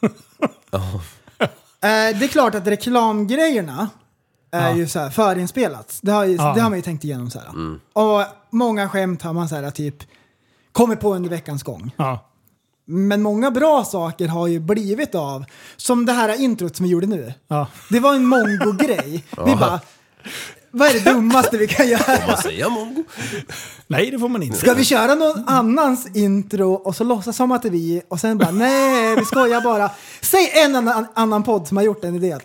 Ja, Eh, det är klart att reklamgrejerna är ju så här förinspelat. Det har, ju, Ja. det har man ju tänkt igenom så här. Och många skämt har man så här typ kommit på under veckans gång. Ja. Men många bra saker har ju blivit av, som det här introt som vi gjorde nu. Ja. Det var en mongo-grej. Vi bara, vad är det dummaste vi kan göra? vad säger mongo? Nej, det får man inte. Ska vi köra någon annans intro och så låtsas som att det är vi och sen bara nej, vi skojar bara. Säg en annan, annan podd som har gjort en idé.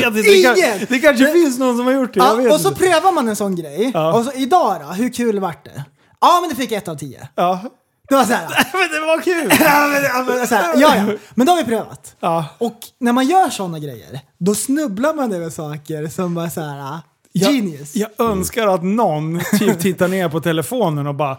Jag vet inte. Det, kan, Ingen! det kanske finns någon som har gjort det. jag vet Ja, och så inte. prövar man en sån grej. Ja. Och så idag då, hur kul vart det? Ja, men det fick ett av tio. Ja. Det var så här. Men det var kul! Ja, men, ja, men, så här, ja, ja, men då har vi prövat. Ja. Och när man gör sådana grejer, då snubblar man över saker som bara så här, "Ah, genius. Jag, jag önskar att någon typ tittar ner på telefonen och bara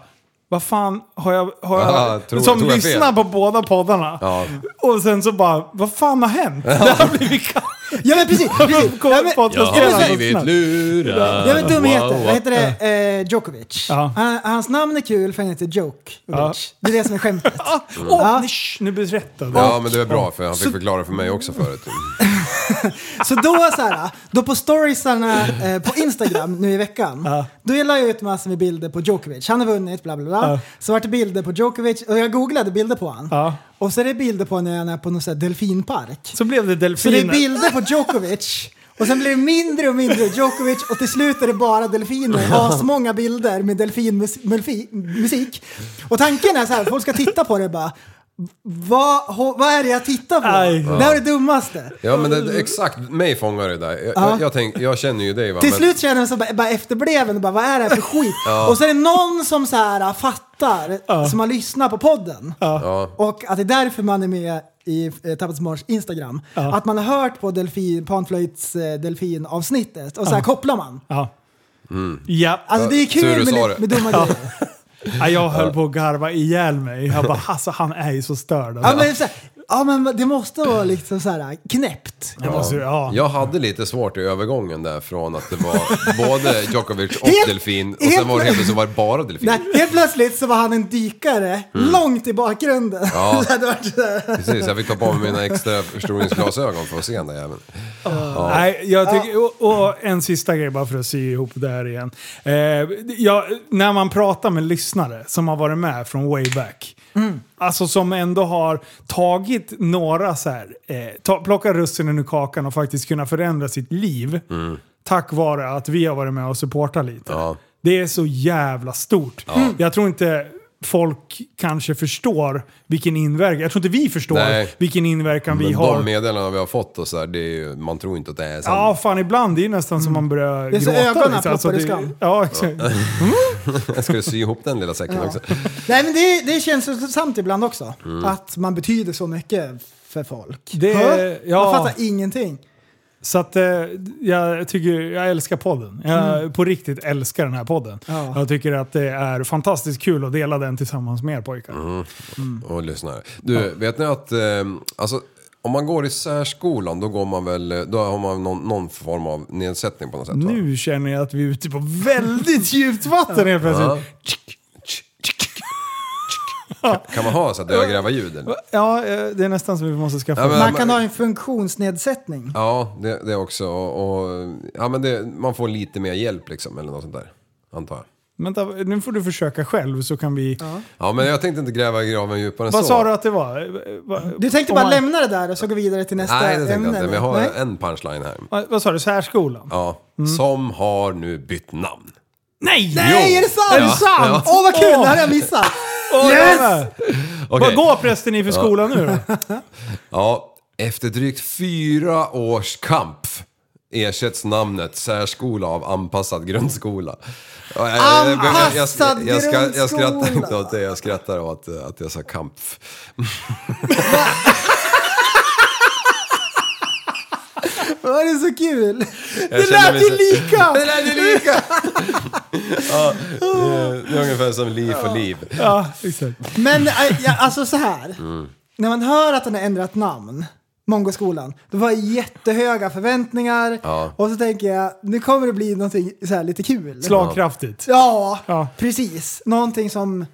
vad fan har jag... Har jag Aha, tror- som tror jag fel?" lyssnar på båda poddarna. Ja. Och sen så bara, vad fan har hänt? Det här blir vi Ja, men precis. precis. Ja, men, Jag Jag har har blivit blivit lurad. Ja men dum heter, vad heter det? Eh, Djokovic. Ja. Han, hans namn är kul för han heter Djokovic. Det är det som är skämtet. Åh, Ja. nej, shh, nu berättade Mm. Ja, men det är bra för han fick förklara för mig också förut. Så då så här, då på storiesarna eh, på Instagram nu i veckan, då la jag ut massor med bilder på Djokovic. Han har vunnit, bla bla bla. Ja. Så vart det bilder på Djokovic och jag googlade bilder på han. Ja. Och så är det bilder på när han är på någon sån här delfinpark. Så blev det Så det är delfiner. bilder på Djokovic. Och sen blir det mindre och mindre Djokovic och till slut är det bara delfiner. Ja, så många bilder med delfinmusik. Och tanken är så här, folk ska titta på det och bara. Vad, ho- vad är det jag tittar på? Aj. Det här är det dummaste. Ja, men det, exakt, mig fångar det där. Jag, jag, jag, tänk, jag känner ju dig va. Till men, slut känner man sig bara, bara efterbleven och bara vad är det här för skit? Och så är det någon som så här fattar, som har lyssnat på podden. Ja, Och att det är därför man är med i eh, Tappat Smarts Instagram. Att man har hört på delfin, panflöjts eh, delfinavsnittet och så här kopplar man. Ja. Mm. Ja. Alltså det är Tur du kul sa med, det. med dumma grejer. ja, jag höll på att garva ihjäl mig. Jag bara, alltså han är ju så störd. Ja men, så här, ja men det måste vara liksom så här knäppt. Jag måste ju- ja. Jag hade lite svårt i övergången där från att det var både Djokovic och Helt- delfin och helt- sen var det helt plötsligt var det bara delfin. Nej, helt plötsligt så var han en dykare långt i bakgrunden. Mm. Ja. Så det hade varit så här. Precis, jag fick ta på mig mina extra förstoringsglasögon för att se den där jäveln. Nej, jag tycker, och, och en sista grej bara för att sy ihop det här igen. Eh, jag, när man pratar med lyssnare som har varit med från way back. Alltså som ändå har tagit några så här, eh, ta, plocka russinen ur kakan och faktiskt kunna förändra sitt liv. Tack vare att vi har varit med och supportat lite. Mm. Ja. Det är så jävla stort. Jag tror inte folk kanske förstår vilken inverkan, jag tror inte vi förstår Nej. vilken inverkan vi Men har. de meddelandena vi har fått och så där, det är ju, man tror inte att det är sant. Ja, fan ibland. Det är ju nästan som man börjar Mm. Det är så gråta. ögonen liksom. ploppar i det- skam. Ja, exakt. Jag skulle sy ihop den lilla säcken också. Mm. Nej men det, det känns känslosamt ibland också. Att man betyder så mycket för folk. Det- Hör? ja. Man fattar ingenting. Så att eh, jag tycker, jag älskar podden. Jag på riktigt älskar den här podden. Mm. Ja. Jag tycker att det är fantastiskt kul att dela den tillsammans med er pojkar. Mm, Mm. Och lyssnar. Du, vet ni att eh, alltså, om man går i särskolan då går man väl, eh, då har man någon, någon form av nedsättning på något sätt va? Nu känner jag att vi är ute på väldigt djupt vatten helt Ja. plötsligt. Kan man ha så här dödgrävarljud eller? Ja, eh, det är nästan som vi måste skaffa. Ja, men- Man kan ha en funktionsnedsättning. Ja, det, det också. Och, och, ja, men det, man får lite mer hjälp liksom, eller något sånt där. Antar jag. Vänta, nu får du försöka själv så kan vi... Ja, men jag tänkte inte gräva graven djupare än Vad så. sa du att det var? Eh, va- Du tänkte om bara man- lämna det där och så gå vidare till nästa Nej, det tänkte ämne? jag inte. Men jag har Nej? Mm. en punchline här. Vad- Vad sa du? Särskolan? Ja. Som har nu bytt namn. Nej! Nej, är det sant? Är det sant? Åh, vad kul! Åh. Det här har jag missat. Yes! Okej. Vad går prästen i för skola nu då? Ja, efter drygt fyra års kamp ersätts namnet särskola av anpassad grundskola. Ja, jag- jag- jag- jag- jag- jag- Anpassad jag- jag- jag- Jag skrattar inte grundskola. åt det, jag skrattar åt eh, att jag sa kamp. Var det är så kul? Jag Det känner lät mig ju så- lika! Det lät ju lika! ja, eh, det är ungefär som liv för liv. Ja, exakt. Men eh, ja, alltså så här. Mm. När man hör att den har ändrat namn, Mongoskolan, då var det jättehöga förväntningar. Ja. Och så tänker jag, nu kommer det bli någonting så här lite kul. Slagkraftigt. Ja, Ja. precis. Någonting som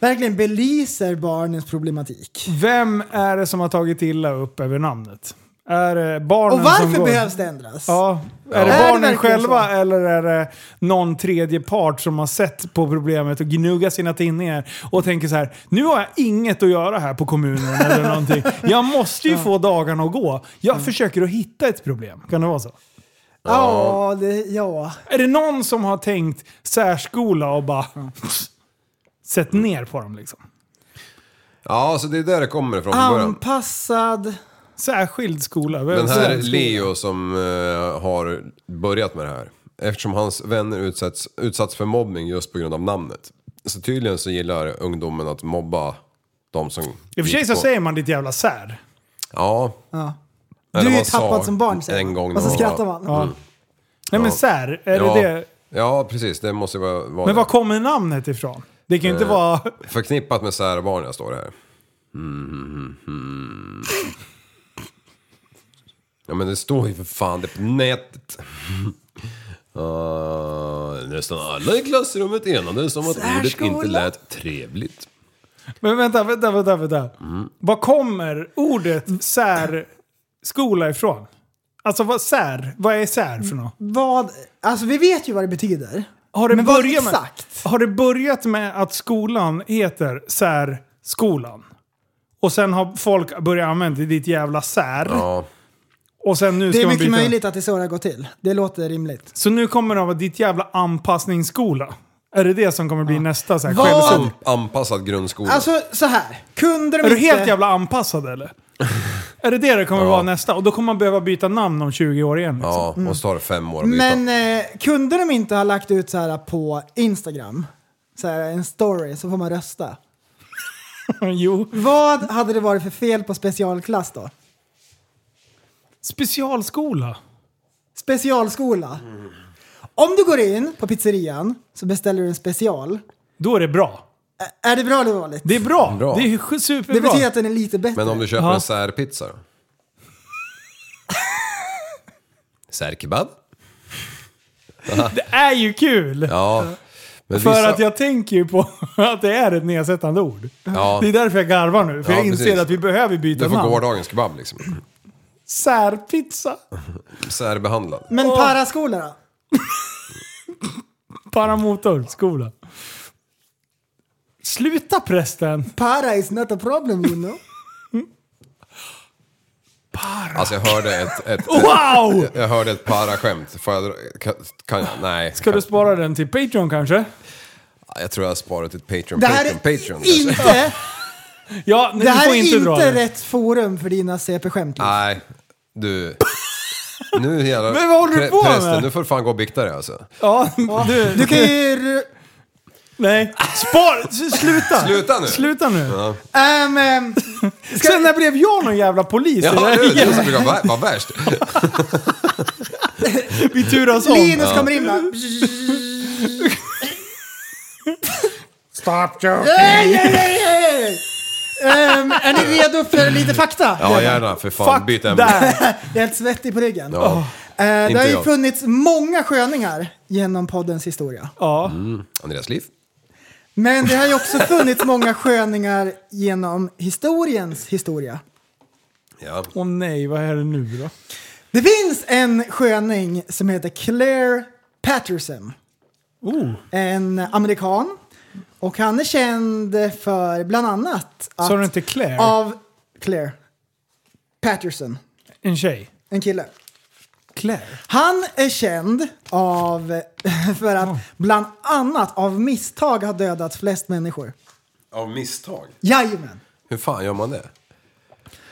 verkligen belyser barnens problematik. Vem är det som har tagit illa upp över namnet? Är det barnen Och som varför går... behövs det ändras? Ja. Är Är det det barnen verkligen själva så? eller är det någon tredje part som har sett på problemet och gnuggat sina tinningar och tänker så här, nu har jag inget att göra här på kommunen eller någonting. Jag måste ju få dagarna att gå. Jag försöker att hitta ett problem. Kan det vara så? Ja, det, ja. Är det någon som har tänkt särskola och bara sett ner på dem liksom? Ja, så det är där det kommer ifrån från början. Anpassad. Särskild skola? Den här Särskola. Leo som eh, har börjat med det här. Eftersom hans vänner utsätts, utsatts för mobbning just på grund av namnet. Så tydligen så gillar ungdomen att mobba de som... I och för sig gick så på- säger man ditt jävla sär. Ja. Eller Du är ju man sa tappad som barn säger En man. gång Och så när skrattar var- man. Nej men Ja. sär, är ja. det det? Ja, precis. Det måste ju vara... vara Men det. var kommer namnet ifrån? Det kan ju inte Eh. vara... Förknippat med särbarn, jag står det här. Mm, Ja men det står ju för fan det på nätet. Uh, nästan alla i klassrummet enades om att ordet Särskola. inte lät trevligt. Men vänta, vänta, vänta. vänta. Mm. Var kommer ordet särskola ifrån? Alltså vad, sär, vad är sär för något? Vad, alltså vi vet ju vad det betyder. Har det, Men vad börjat med, exakt? har det börjat med att skolan heter särskolan? Och sen har folk börjat använda ditt jävla sär. Ja, Och sen nu Det ska är man mycket byta. möjligt att det är så det har gått till. Det låter rimligt. Så nu kommer det att vara ditt jävla anpassningsskola. Är det det som kommer bli nästa så här, Vad- självsyn? an- anpassad grundskola. Alltså så här. Kunde de Är du inte... helt jävla anpassad eller? är det det det kommer vara nästa? Och då kommer man behöva byta namn om 20 år igen. Liksom. ja, och så tar det fem år att byta. alltså, mm. Men eh, kunde de inte ha lagt ut så här på Instagram? Så här, en story, så får man rösta. jo. Vad hade det varit för fel på specialklass då? Specialskola. Specialskola. Om du går in på pizzerian så beställer du en special. Då är det bra. Ä- Är det bra eller dåligt? Det är bra. Bra. Det är sj- superbra. Det betyder att den är lite bättre. Men om du köper Ja. en särpizza då? Särkebab? Det är ju kul! Ja. Men För vissa- att jag tänker ju på att det är ett nedsättande ord. Ja. Det är därför jag garvar nu. För Ja, jag inser precis. att vi behöver byta Du får namn. gårdagens kebab liksom. Särpizza. Särbehandlad. Men paraskola då? Paramotorskola. Sluta prästen! Para is not a problem you know. Alltså jag hörde ett, ett, Wow! jag hörde ett paraskämt. Får jag dra- kan, kan jag? Nej. Ska du kan, spara den till Patreon kanske? jag tror jag har sparat ett Patreon. Det här är Patreon, Patreon. kanske. inte, Ja, nej, det du här får är inte, inte, dra det. rätt forum för dina CP-skämt. Nej, du. Nu jävlar. Men vad håller du på med? Prästen, nu får du fan gå och bikta dig alltså. Ja, du, Du kan ju... ru- Nej. Spar! s- Sluta! Sluta nu. Sluta nu. Ehm, ehm, ska- Sen när blev jag någon jävla polis? i det Ja, här du, du igen? som brukar vara vara värst. Vi turas om. Linus kommer in bara... Stop joking. Hej, hej, hej, hej, hej. Ehm, är ni redo för lite fakta? Ja, gärna. För fan, Fuck byt ämne. där. Jag är helt svettig på ryggen. Ja, Eh, det inte har ju jag. funnits många sköningar genom poddens historia. Ja. Andreas Liv. Men det har ju också funnits många sköningar genom historiens historia. Ja. Åh nej, vad är det nu då? Det finns en sköning som heter Claire Patterson. Oh. En amerikan. Och han är känd för bland annat att... Sa du inte Claire? Av Claire Patterson. En tjej? En kille. Claire. Han är känd av, för Oh. att bland annat av misstag har dödat flest människor. Av misstag? Jajamän. Hur fan gör man det?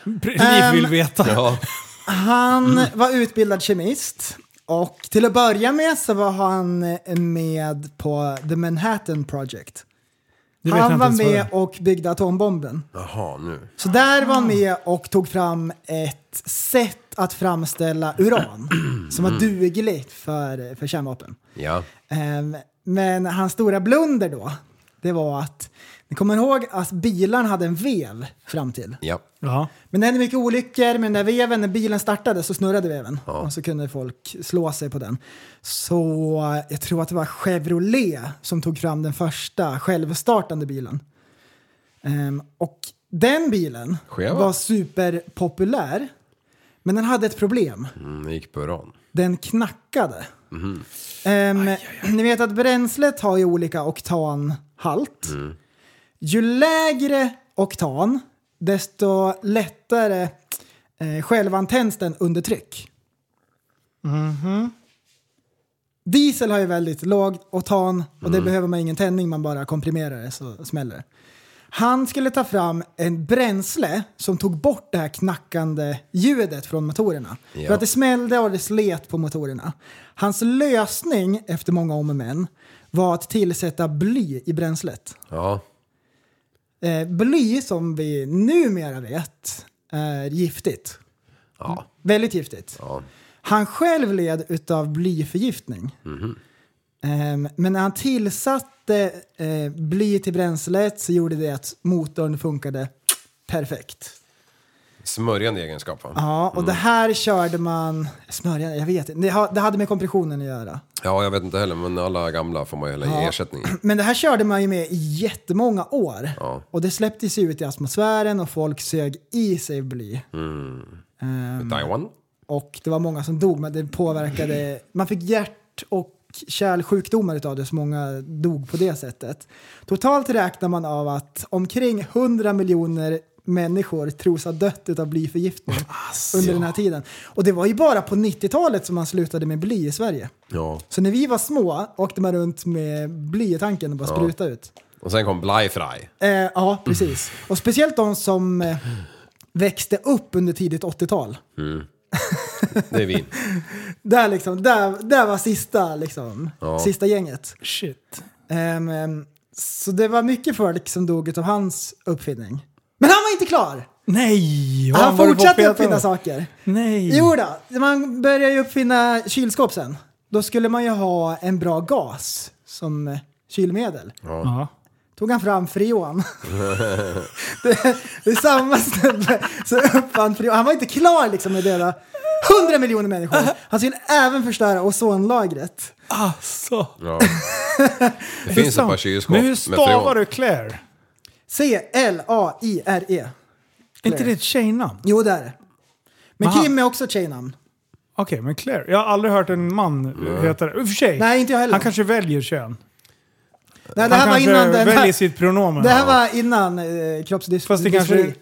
Ni vill veta. Ja. Han Mm. var utbildad kemist. Och till att börja med så var han med på The Manhattan Project. Det vet jag Han inte var ens vad det med är. och byggde atombomben. Jaha, nu. Så där var han med och tog fram ett sätt att framställa uran som var dugligt för, för kärnvapen. Ja. Ehm, Men hans stora blunder då, det var att, ni kommer ihåg att bilarna hade en vev fram till. Ja. Ja. Men det hände mycket olyckor med den där veven. När bilen startade så snurrade veven och så kunde folk slå sig på den. Så eh, jag tror att det var Chevrolet som tog fram den första självstartande bilen. Ehm, och den bilen Cheva. var superpopulär. Men den hade ett problem. Mm, det gick på uran. Den knackade. Ehm, Ni vet att bränslet har ju olika oktanhalt. Ju lägre oktan, desto lättare eh, självantänds den under tryck. Diesel har ju väldigt låg oktan och det behöver man ingen tändning, man bara komprimerar det så smäller det. Han skulle ta fram en bränsle som tog bort det här knackande ljudet från motorerna. Ja. För att det smällde och det slet på motorerna. Hans lösning, efter många om och men, var att tillsätta bly i bränslet. Ja. Eh, bly, som vi numera vet, är giftigt. Ja. Väldigt giftigt. Ja. Han själv led utav blyförgiftning. Mhm. Ehm, men när han tillsatte eh, bly till bränslet så gjorde det att motorn funkade perfekt. Smörjande egenskap, va? Ja, och det här körde man... Smörjan, jag vet inte. Det, ha- det hade med kompressionen att göra. Ja, jag vet inte heller, men alla gamla får man ju hela ersättning. Men det här körde man ju med i jättemånga år. Ja. Och det släpptes ju ut i atmosfären och folk sög i sig bly. Mm. Ehm, Taiwan? Och det var många som dog, men det påverkade... Man fick hjärt och kärlsjukdomar utav det, så många dog på det sättet. Totalt räknar man av att omkring 100 miljoner människor tros ha dött utav blyförgiftning under den här tiden. Och det var ju bara på 90-talet som man slutade med bly i Sverige. Ja. Så när vi var små åkte man runt med bly i tanken och bara sprutade ut. Och sen kom Blyfry. Eh, ja, precis. Och speciellt de som eh, växte upp under tidigt 80-tal. Det är vi. Där, liksom, där, där var sista, liksom, Ja. sista gänget. Shit. Ehm, ehm, så det var mycket folk som dog av hans uppfinning. Men han var inte klar! Nej! vad han var det för fortsatte feta? uppfinna saker. Nej. Jo då, man började ju uppfinna kylskåp sen. Då skulle man ju ha en bra gas som eh, kylmedel. Ja. tog han fram freon. det, det är samma snubbe som uppfann freon. Han var inte klar liksom med döda 100 miljoner människor. Han skulle även förstöra ozonlagret. Alltså. Ja. Det finns ett par kylskåp Men hur med stavar freon. du Claire? C-L-A-I-R-E. Är inte det ett tjejnamn? E. Jo, det är det. Men Aha. Kim är också ett tjejnamn. Okej, men Claire. Jag har aldrig hört en man eh, heta det. I och för sig. Nej, inte jag heller. Han kanske väljer kön. Nej, det Han här var kanske innan den väljer här, sitt pronomen. det här var innan eh, kroppsdysfori. Fast det kanske...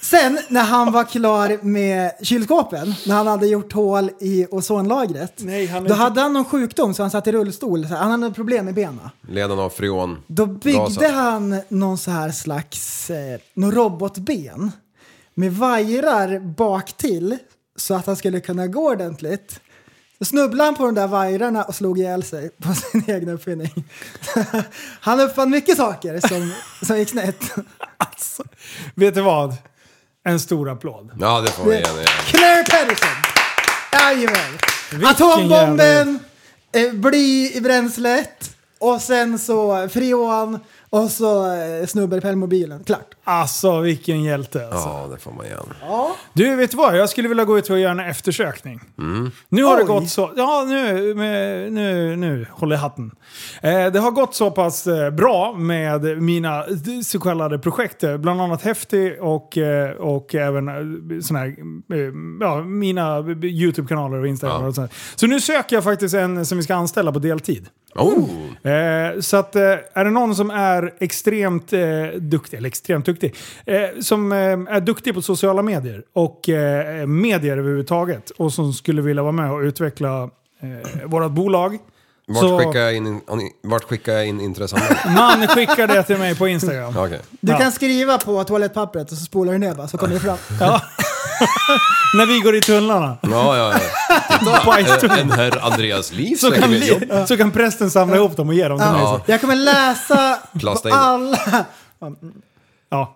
Sen när han var klar med kylskåpen, när han hade gjort hål i ozonlagret, Nej, han är då inte- hade han någon sjukdom så han satt i rullstol. Så här, han hade något problem med benen. Ledan av freon. Då byggde Gasen. han någon så här slags eh, någon robotben med vajrar bak till så att han skulle kunna gå ordentligt. Så snubblade han på de där vajrarna och slog ihjäl sig på sin egen uppfinning. han uppfann mycket saker som, som gick snett. Alltså, vet du vad? En stor applåd. Ja, det får vi igen. igen. Claire Pedersen! Jajamän! Vilken Atombomben, eh, bly i bränslet och sen så freon och så eh, snubber-permobilen. Klart. Alltså vilken hjälte alltså. Ja, det får man igen. Du, vet du vad? Jag skulle vilja gå ut och göra en eftersökning. Nu har det Oj. gått så... Ja, nu, med, nu, nu håller jag hatten. Eh, det har gått så pass eh, bra med mina eh, så kallade projekt. eh, Bland annat Häftig och, eh, och även eh, sån här, eh, ja, mina YouTube-kanaler och Instagram. Ja. Och sånt. Så nu söker jag faktiskt en som vi ska anställa på deltid. Oh. Eh, så att, eh, är det någon som är extremt eh, duktig, eller extremt duktig, eh, som eh, är duktig på sociala medier och eh, medier överhuvudtaget och som skulle vilja vara med och utveckla eh, vårt bolag. Vart, så skickar jag in, vart skickar jag in intresseanmälan? man skickar det till mig på Instagram. Ja, Okej. Du Ja. kan skriva på toalettpappret och så spolar du ner bara, så kommer det fram. Ja. När vi går i tunnlarna. Ja, ja, ja. Titta, en herr Andreas Liv Så söker kan, vi jobb. vi, så kan prästen samla ihop dem och ge dem till mig. Ja. så. Jag kommer läsa på Plasta in. alla... Ja,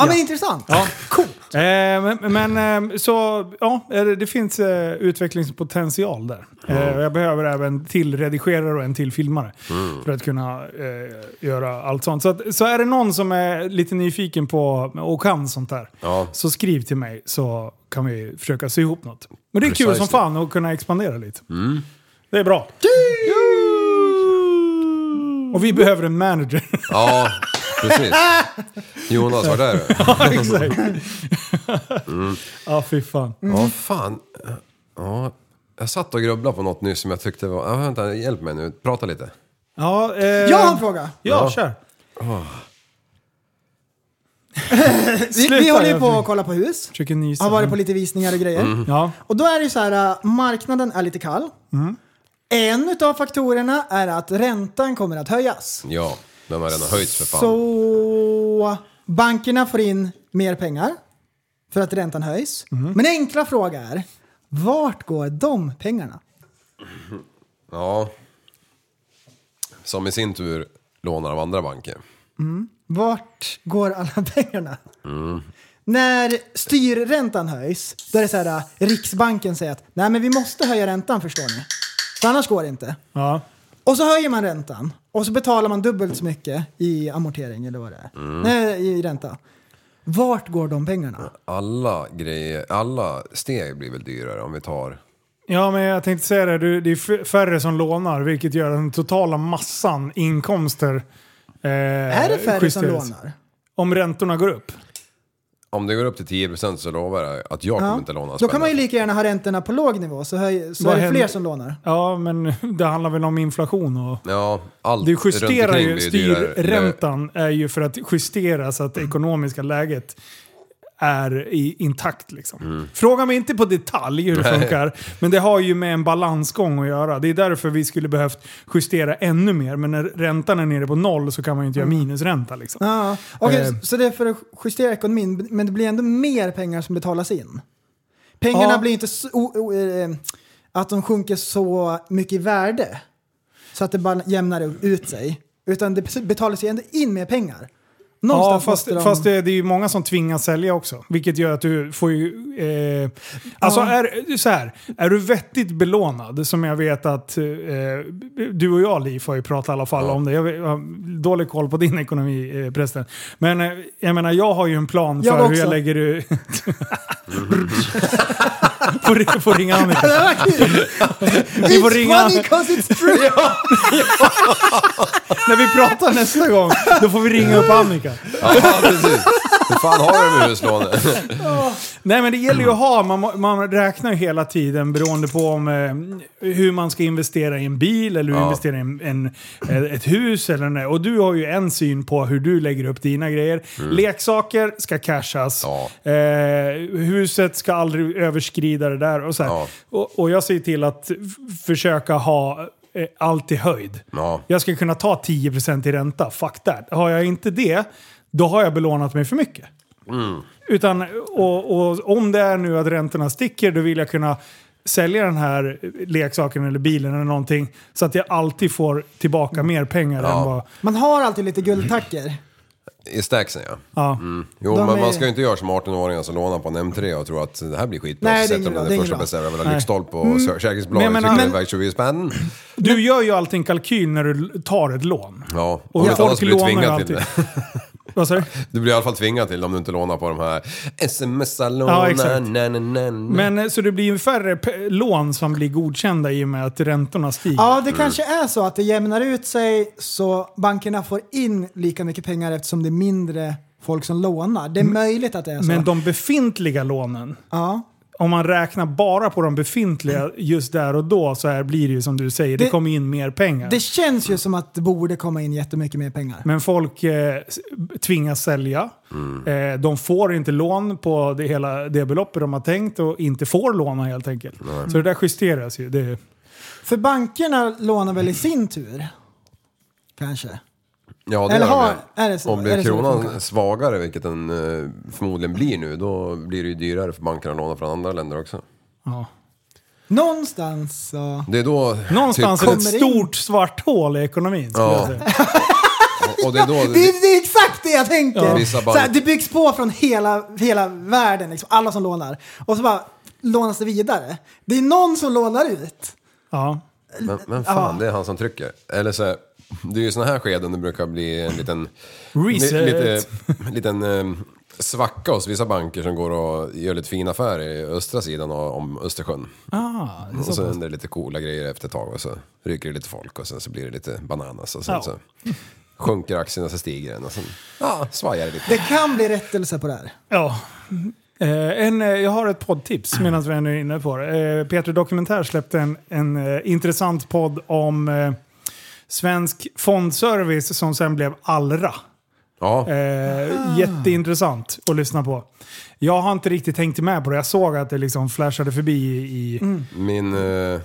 Ja. men intressant. Coolt. Eh, men men eh, så, ja, eh, det finns eh, utvecklingspotential där. Eh, och jag behöver även till redigerare och en till filmare för att kunna eh, göra allt sånt. Så, att, så är det någon som är lite nyfiken på och kan sånt där, Ja. så skriv till mig så kan vi försöka sy ihop något. Men det är kul Precisely. som fan att kunna expandera lite. Det är bra. Och vi behöver en manager. Ja, precis. Jonas, vart är du? Ja, exakt. Ja, fy fan. Ja, fan. Ja, jag satt och grubblade på något nyss som jag tyckte var... Ja, vänta, hjälp mig nu. Prata lite. Ja, eh, Jag har en fråga. Ja, Ja. kör. Vi, vi Sluta, håller ju jag på försöker- att kolla på hus. Försöker nysa. Mm. Har varit på lite visningar och grejer. Mm. Ja. Och då är det ju så här, äh, marknaden är lite kall. Mm. En utav faktorerna är att räntan kommer att höjas. Ja, den har redan höjts för fan. Så bankerna får in mer pengar för att räntan höjs. Mm. Men enkla fråga är, vart går de pengarna? Ja. Som i sin tur lånar av andra banker. Vart går alla pengarna? Mm. När styrräntan höjs, då är det så här, äh, Riksbanken säger att nej men vi måste höja räntan förstår ni. För annars går det inte. Ja. Och så höjer man räntan och så betalar man dubbelt så mycket i amortering eller vad det är. Mm. Nej, i ränta. Vart går de pengarna? Alla grejer, alla steg blir väl dyrare om vi tar... ja, men jag tänkte säga det. Du, det är f- färre som lånar, vilket gör att den totala massan inkomster eh, är det färre som justeras. lånar? Om räntorna går upp. Om det går upp till 10% så lovar jag att jag kommer inte låna en Då kan spänn. man ju lika gärna ha räntorna på låg nivå så, höj, så Vad är det händer- fler som lånar. Ja, men det handlar väl om inflation och... Ja, allt Du justerar runt omkring ju blir dyrare. styrräntan är ju för att justera så att det ekonomiska läget är i, intakt. Liksom. Mm. Fråga mig inte på detalj hur det funkar, men det har ju med en balansgång att göra. Det är därför vi skulle behövt justera ännu mer, men när räntan är nere på noll så kan man ju inte göra Mm. minusränta. Liksom. Ja, okej, Eh. Så det är för att justera ekonomin, men det blir ändå mer pengar som betalas in. Pengarna Ja. blir inte så, o, o, eh, att de sjunker så mycket i värde så att det bara jämnar ut sig. Utan det betalas ju ändå in mer pengar. Ja, Någonstans fast, måste de... fast det, det är ju många som tvingas sälja också. Vilket gör att du får ju... Eh, alltså, Ja. är, så här, är du vettigt belånad, som jag vet att eh, du och jag, Liv, har ju pratat i alla fall om det. Jag, vet- jag har dålig koll på din ekonomi, eh, prästen. Men eh, jag menar, jag har ju en plan Jag för hur jag också. lägger... ut- får, ri- får ringa Annika. Det var kul! Vi får It's ringa- funny 'cause it's true! När vi pratar nästa gång, då får vi ringa upp Annika. Ja, precis. Hur fan har du med huslånet? Nej men det gäller ju att ha, man, må- man räknar ju hela tiden beroende på om, eh, hur man ska investera i en bil eller hur Ja. investera i en, en, eh, ett hus. Eller en, och du har ju en syn på hur du lägger upp dina grejer. Leksaker ska cashas. Mm. Ja. Eh, huset ska aldrig överskrida det där. Och, så här. Ja. och, och jag ser till att f- försöka ha eh, allt i höjd. Ja. Jag ska kunna ta 10% i ränta, fuck that. Har jag inte det, då har jag belånat mig för mycket. Mm. Utan, och, och om det är nu att räntorna sticker, då vill jag kunna sälja den här leksaken eller bilen eller någonting så att jag alltid får tillbaka mer pengar än vad... Man har alltid lite guldtacker. I stacksen ja. Mm. Ja. Jo, De men är- man ska ju inte göra som 18-åringar som lånar på en M3 och tro att det här blir skitbra. Nej, det är så sätter ingen de bra, den det är där ingen första bra. Mm. beställaren med lyktstolp och försäkringsbolaget Men jag menar- tycker det är men- väg 20 spänn. Du gör ju alltid en kalkyl när du l- tar ett lån. Ja, Och om inte folk annars blir du lånar tvingad alltid. till det. Vad sa du? Du blir i alla fall tvingad till det om du inte lånar på de här smsa Ja, låna exakt. na, na, na, na. Mm. Men eh, så det blir ju färre p- lån som blir godkända i och med att räntorna stiger. Ja, mm. det kanske är så att det jämnar ut sig så bankerna får in lika mycket pengar eftersom det Mm. är mindre folk som lånar. Det är möjligt att det är så. Men de befintliga lånen ja. om man räknar bara på de befintliga just där och då så här blir det ju som du säger, det, Mm. Det- kommer in mer pengar. Det känns ju som att det borde komma in jättemycket mer pengar. Men folk eh, s- tvingas sälja. Mm. Eh, de får inte lån på det, hela det beloppet de har tänkt och inte får låna helt enkelt. Så det där justeras ju. Det, För bankerna lånar väl i sin tur? Kanske. Ja, det Eller gör har- det. är det så? Om Är blir det så det kronan funkar? svagare, vilket den eh, förmodligen blir nu, då blir det ju dyrare för bankerna att låna från andra länder också. ja. Någonstans så... Det är då... Någonstans är typ, det ett kommer in. stort svart hål i ekonomin. skulle Ja. jag säga. och, och det är då... Det är, det är exakt det jag tänker! Ja. Vissa Så här, bank- det byggs på från hela, hela världen, liksom, alla som lånar. Och så bara lånas det vidare. Det är någon som lånar ut. Ja. Men, men fan, det är han som trycker. Eller så, det är ju såna här skeden det brukar bli en liten... Reset. li- Lite, liten eh, svacka hos vissa banker som går och gör lite fina affärer i östra sidan av, om Östersjön. Ah, det är Och så så pass. händer det lite coola grejer efter ett tag och så ryker det lite folk och sen så blir det lite bananas och sen Ja. så sjunker aktien och så stiger den och sen ja, svajar det lite. Det kan bli rättelse på det här. Ja. Eh, en, eh, jag har ett poddtips medan vi ännu är inne på det. Eh, Peter Dokumentär släppte en, en eh, intressant podd om eh, svensk fondservice som sen blev Allra. Ja, Eh, jätteintressant att lyssna på. Jag har inte riktigt tänkt med på det. Jag såg att det liksom flashade förbi i... i Mm. min eh,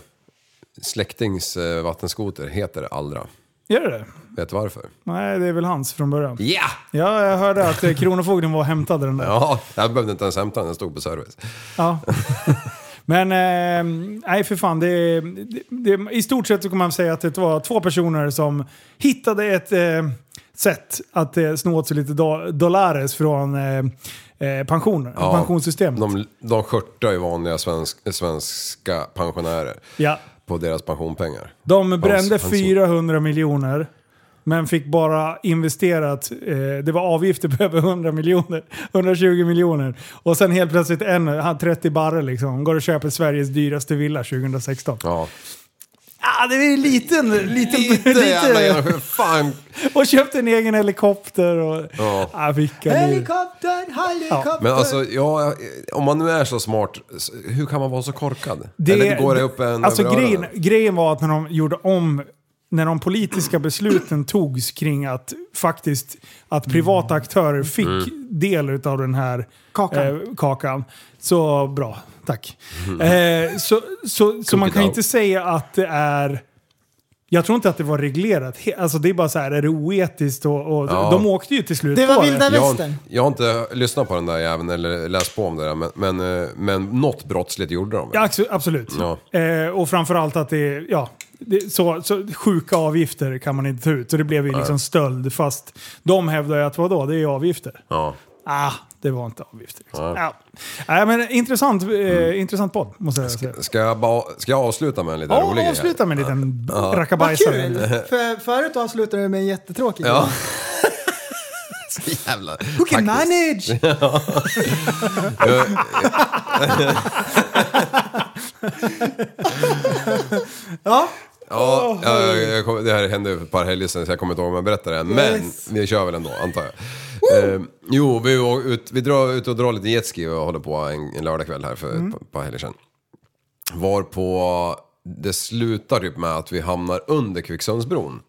släktings eh, vattenskoter heter Allra. Gör det det Vet du varför? Nej, det är väl hans från början. Ja! Ja, jag hörde att eh, Kronofogden var och hämtade den där. Ja, jag behövde inte ens hämta den, den stod på service. Ja. Men eh, nej, för fan. Det, det, det, I stort sett så kan man säga att det var två personer som hittade ett eh, sätt att eh, sno åt sig lite do, dollares från eh, eh, pensioner, Ja, pensionssystemet. De, de skörtar ju vanliga svensk, svenska pensionärer ja. på deras pensionpengar. de brände Pension. 400 miljoner. Men fick bara investerat, eh, det var avgifter på över 100 miljoner, 120 miljoner. Och sen helt plötsligt en, han 30 barre liksom, går och köper Sveriges dyraste villa 2016. Ja. Ah, det är ju liten, liten, Lite jävla genomskinligt. Fan! Och köpte en egen helikopter och... Ja. Ah, vilka liv. Helikopter, helikopter! Men alltså, ja, om man nu är så smart, s- hur kan man vara så korkad? Eller går det upp en Alltså över grejen, öronen? grejen var att när de gjorde om... När de politiska besluten togs kring att faktiskt att privata Mm. aktörer fick del av den här Kakan. Eh, kakan. Så bra, tack. Mm. Eh, så så, så man it kan out. inte säga att det är... Jag tror inte att det var reglerat. He- Alltså det är bara så här, är det oetiskt? Och, och, Ja. De åkte ju till slut Det var på vilda Jag, har- västern. jag har inte lyssnat på den där jäveln eller läst på om det där, men, men, eh, men något brottsligt gjorde de. Ja, abso- absolut. Ja. Eh, och framförallt att det är, ja, det, så, så sjuka avgifter kan man inte ta ut. Så det blev ju liksom stöld. Fast de hävdar ju att vadå, det är ju avgifter. Ja. Ah, det var inte avgifter. Liksom. Ja. Nej, men intressant, eh, intressant podd måste jag säga. Ska, jag ba, ska jag avsluta med en liten rolig Ja, grej? avsluta med en liten ja. Vad rackabajsare. kul! För, förut avslutade du med en jättetråkig Ja. grej. Så jävla... Who can taktiskt. manage? ja, Ja, jag, jag, jag, kommer- det här hände ju för ett par helger sedan så jag kommer inte ihåg om jag berättar det. än. Men Yes. vi kör väl ändå, antar jag. Eh, jo, vi, var ut, vi drar ut och drar lite jetski och håller på en, en lördagkväll här för ett par helger sedan. Var på det slutar typ med att vi hamnar under Kvicksundsbron.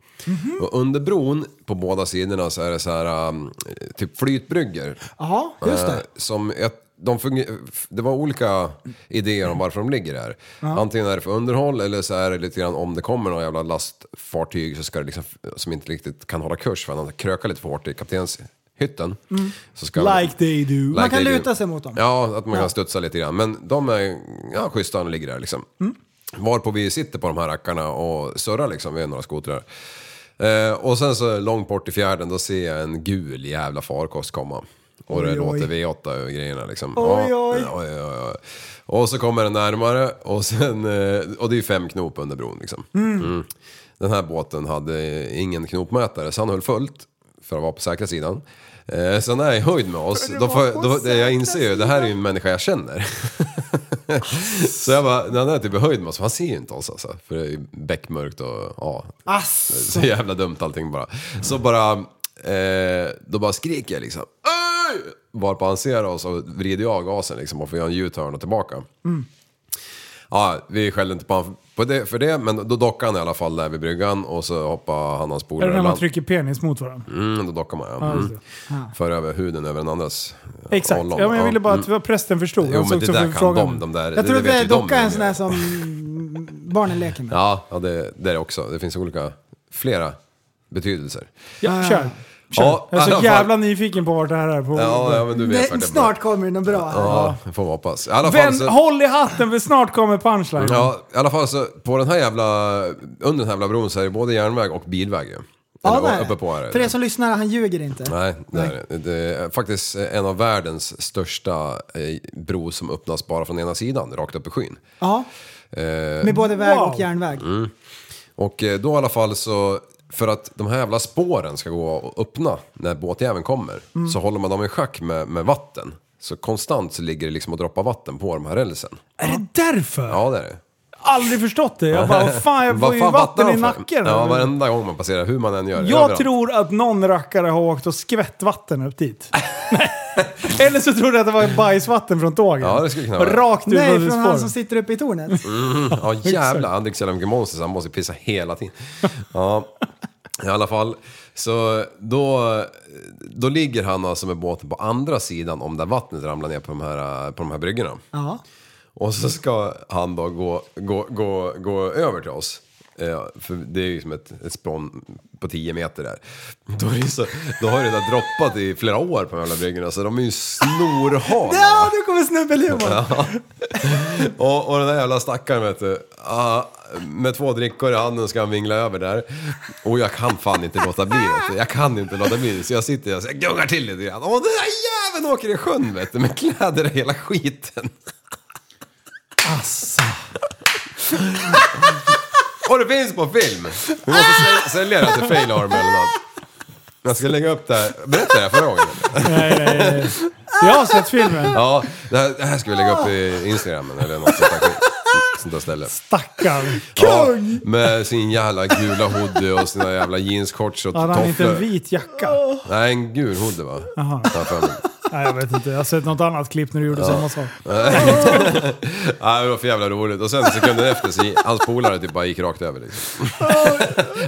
Och under bron på båda sidorna så är det så här um, typ flytbryggor. Jaha, just det. Eh, Som ett, de funger- det var olika idéer om varför de ligger där. Antingen är det för underhåll eller så är det lite grann om det kommer några jävla lastfartyg så ska det liksom, som inte riktigt kan hålla kurs för att han krökar lite för hårt i kaptenshytten. Mm. Så ska Like they do. Like Man kan they do. luta sig mot dem. Ja, att man kan studsa lite grann. Men de är ja, schyssta och ligger där liksom. Mm. Varpå vi sitter på de här rackarna och surrar liksom, vi är några skotrar. Eh, och sen så långt bort i fjärden, då ser jag en gul jävla farkost komma. Och det låter V8 och grejerna liksom. Oj, Ja, oj. oj, oj, oj. Och så kommer den närmare och sen, eh, och det är ju fem knop under bron liksom. Mm. Den här båten hade ingen knopmätare så han höll fullt för att vara på säkra sidan. Eh, så när jag är i höjd med oss, då får, jag- då, jag inser ju det här är ju en människa jag känner. så jag bara, när han är typ i höjd med oss, han ser ju inte oss alltså. För det är ju bäckmörkt och ja, Ass. så jävla dumt allting bara. Så bara, eh, då bara skriker jag liksom. "Öj!" Varpå han ser oss och vrider av gasen liksom och får göra en U-turn och tillbaka. Ja, vi skällde inte på honom på det, för det, men då dockade han i alla fall där vid bryggan och så hoppade han och hans Är polare det när man land. trycker penis mot varandra? Mm, då dockar man ja. just det. Mm. För över huden över den andras eh, Exakt. ollon. Ja, men jag ville bara Mm. att prästen förstod. Jo Jag såg men det också där kan förfrågan. de, de där. Jag tror att vet det ju de docka är hur en sån de här gör. som barnen leker med. Ja, ja det, det är det också. Det finns olika, flera betydelser. Ja, kör. Ja, Jag är i alla så fall. jävla nyfiken på vart det här är. På. Ja, ja men du vet Nej, vart det snart kommer det något bra här. Ja, det får vi hoppas. I alla fall Vänd, så... håll i hatten för snart kommer punchline. Ja, i alla fall så på den här jävla... Under den här jävla bron så är det både järnväg och bilväg ju. Ja, Eller, det är det. uppe på är det. För er som lyssnar, han ljuger inte. Nej, det är, det. det är faktiskt en av världens största eh, bro som öppnas bara från ena sidan, rakt upp i skyn. Ja, Eh, med både väg Wow. Mm. och järnväg. Och eh, då i alla fall så, för att de här jävla spåren ska gå och öppna när båtjäveln kommer, Mm. så håller man dem i schack med, med vatten. Så konstant så ligger det liksom och droppar vatten på de här rälsen. Är det därför? Ja, det är det. Aldrig förstått det. Jag bara, fan jag Vad får ju fan vattnar vatten i de för? nacken. Ja, varenda gång man passerar, hur man än gör. Jag överallt. tror att någon rackare har åkt och skvätt vatten upp dit. Eller så tror jag att det var bajsvatten från tåget. Ja, det skulle kunna vara. Rakt ut Nej, under från han spåret. som sitter uppe i tornet. Ja jävlar, han dricker så jävla mycket monster så han måste pissa hela tiden. Ja, i alla fall. Så då, då ligger han alltså med båten på andra sidan om där vattnet ramlar ner på de här, på de här bryggorna. Ja. Och så ska han då gå, gå, gå, gå över till oss. Eh, för det är ju som ett, ett språng på 10 meter där. Då, är det så, då har det där droppat i flera år på de här bryggorna så de är ju snorhala. Ja, nu kommer snubbelhumorn! Ja. och, och den där jävla stackaren vet du. Ah, med två drickor i handen ska han vingla över där. Och jag kan fan inte låta bli vet du. Jag kan inte låta bli. Så jag sitter där och jag gungar till lite grann. Och den där jäveln åker i sjön vet du. Med kläder och hela skiten. Asså. Och det finns på film. Vi måste sä- sälja det till Fail Army eller något. Jag ska lägga upp det här. Berättade jag förra gången? Nej, nej, nej. Jag har sett filmen. Ja, det här, det här ska vi lägga upp i Instagramen eller något sånt där, sånt där ställe. Stackarn. Kung! Ja, med sin jävla gula hoodie och sina jävla jeansshorts och Hade han inte en tofflor. vit jacka? Nej, en gul hoodie va? Jaha. Nej, jag vet inte. Jag har sett något annat klipp när du gjorde samma sak. Nej, det var för jävla roligt. Och sen sekunden efter så gick- hans polare typ bara gick rakt över liksom.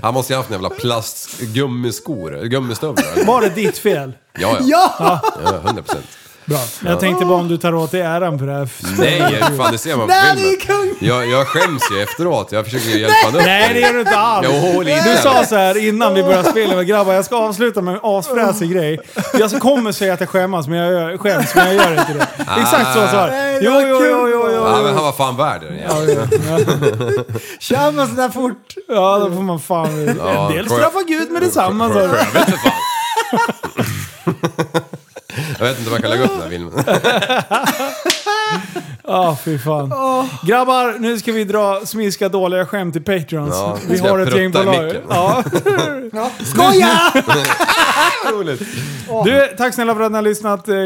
Han måste ju haft en jävla plastgummiskor, eller gummistövlar. eller- Var det ditt fel? Ja, ja. Ja! Ja, 100 procent. Bra. Jag tänkte bara om du tar åt dig äran för det här. Nej, fan det ser man på Nej, det är ju filmen. kung! Jag, jag skäms ju efteråt. Jag försöker ju hjälpa honom upp. Nej, det gör du inte alls. Jo, lite. Du sa så här innan vi började spela med grabbar, jag ska avsluta med en asfräsig Mm. grej. Jag så kommer säga att jag skämmas, men jag gör, skäms, men jag gör inte det. Ah. Exakt så sa Nej, jag. det Jo, var jo, kul. jo, jo, jo. Ja, men han var fan värd det. den jäveln. Kör man sådär fort? Ja, då får man fan... Ja, En del kom- straffar Gud med detsamma. Så. Jag vet inte fan. Jag vet inte om jag kan lägga upp den här filmen. Ja, fy fan. Grabbar, nu ska vi dra smiska dåliga skämt till Patreons. Ja, vi ska har jag ett gäng på prutta i lager. micken? Ja. Skoja! Du, tack snälla för att ni har lyssnat. Eh, eh,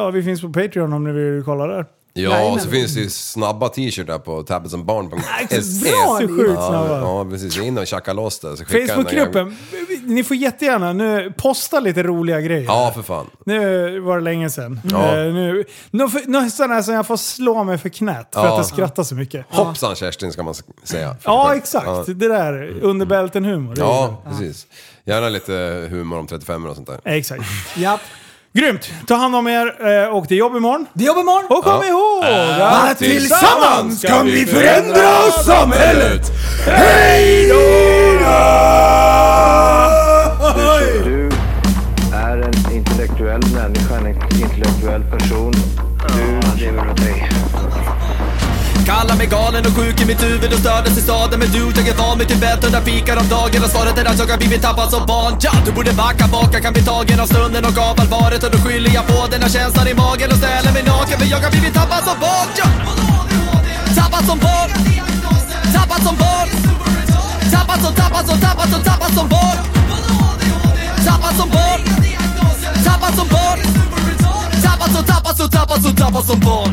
Ja, vi finns på Patreon om ni vill kolla där. Ja, och så finns det ju snabba t-shirtar på tabbetsandbarn.se. Så sjukt snabba. Ja, precis. In och tjacka loss det. så skicka den där Facebookgruppen. gamla- Ni får jättegärna nu posta lite roliga grejer. Ja, för fan. Nu var det länge sedan. Ja. Eh, Nu, nu, får- nu är det sådana här som jag får slå mig för knät för Ja. att jag skrattar så mycket. Hoppsan Kerstin ska man s- säga. Ja, exakt. Ja. Det där, under bälten-humor. Det är Ja, precis. Gärna lite humor om 35 och sånt där. det. Exakt. Japp. Grymt! Ta hand om er eh, och till jobb imorgon. Det jobbar imorgon! Och kom ihåg! att- Äh, Tillsammans kan vi förändra samhället! Du är en intellektuell människa, en intellektuell person. Du lever av dig. Kallar mig galen och sjuk i mitt huvud och stördes i staden Men du, jag är van vid Tibet under fikar om dagen Och svaret är att jag har blivit tappad som barn ja, Du borde backa bak, jag kan bli tagen av stunden och av allvaret Och då skyller jag på den här känslan i magen och ställer mig naken För jag har blivit tappad som barn ja. Tappad som barn Tappad som barn Tappad som, tappad som, tappad som, tappad som barn Tappad som barn Tappad som barn Tappad som, tappad som, tappad som, tappad som barn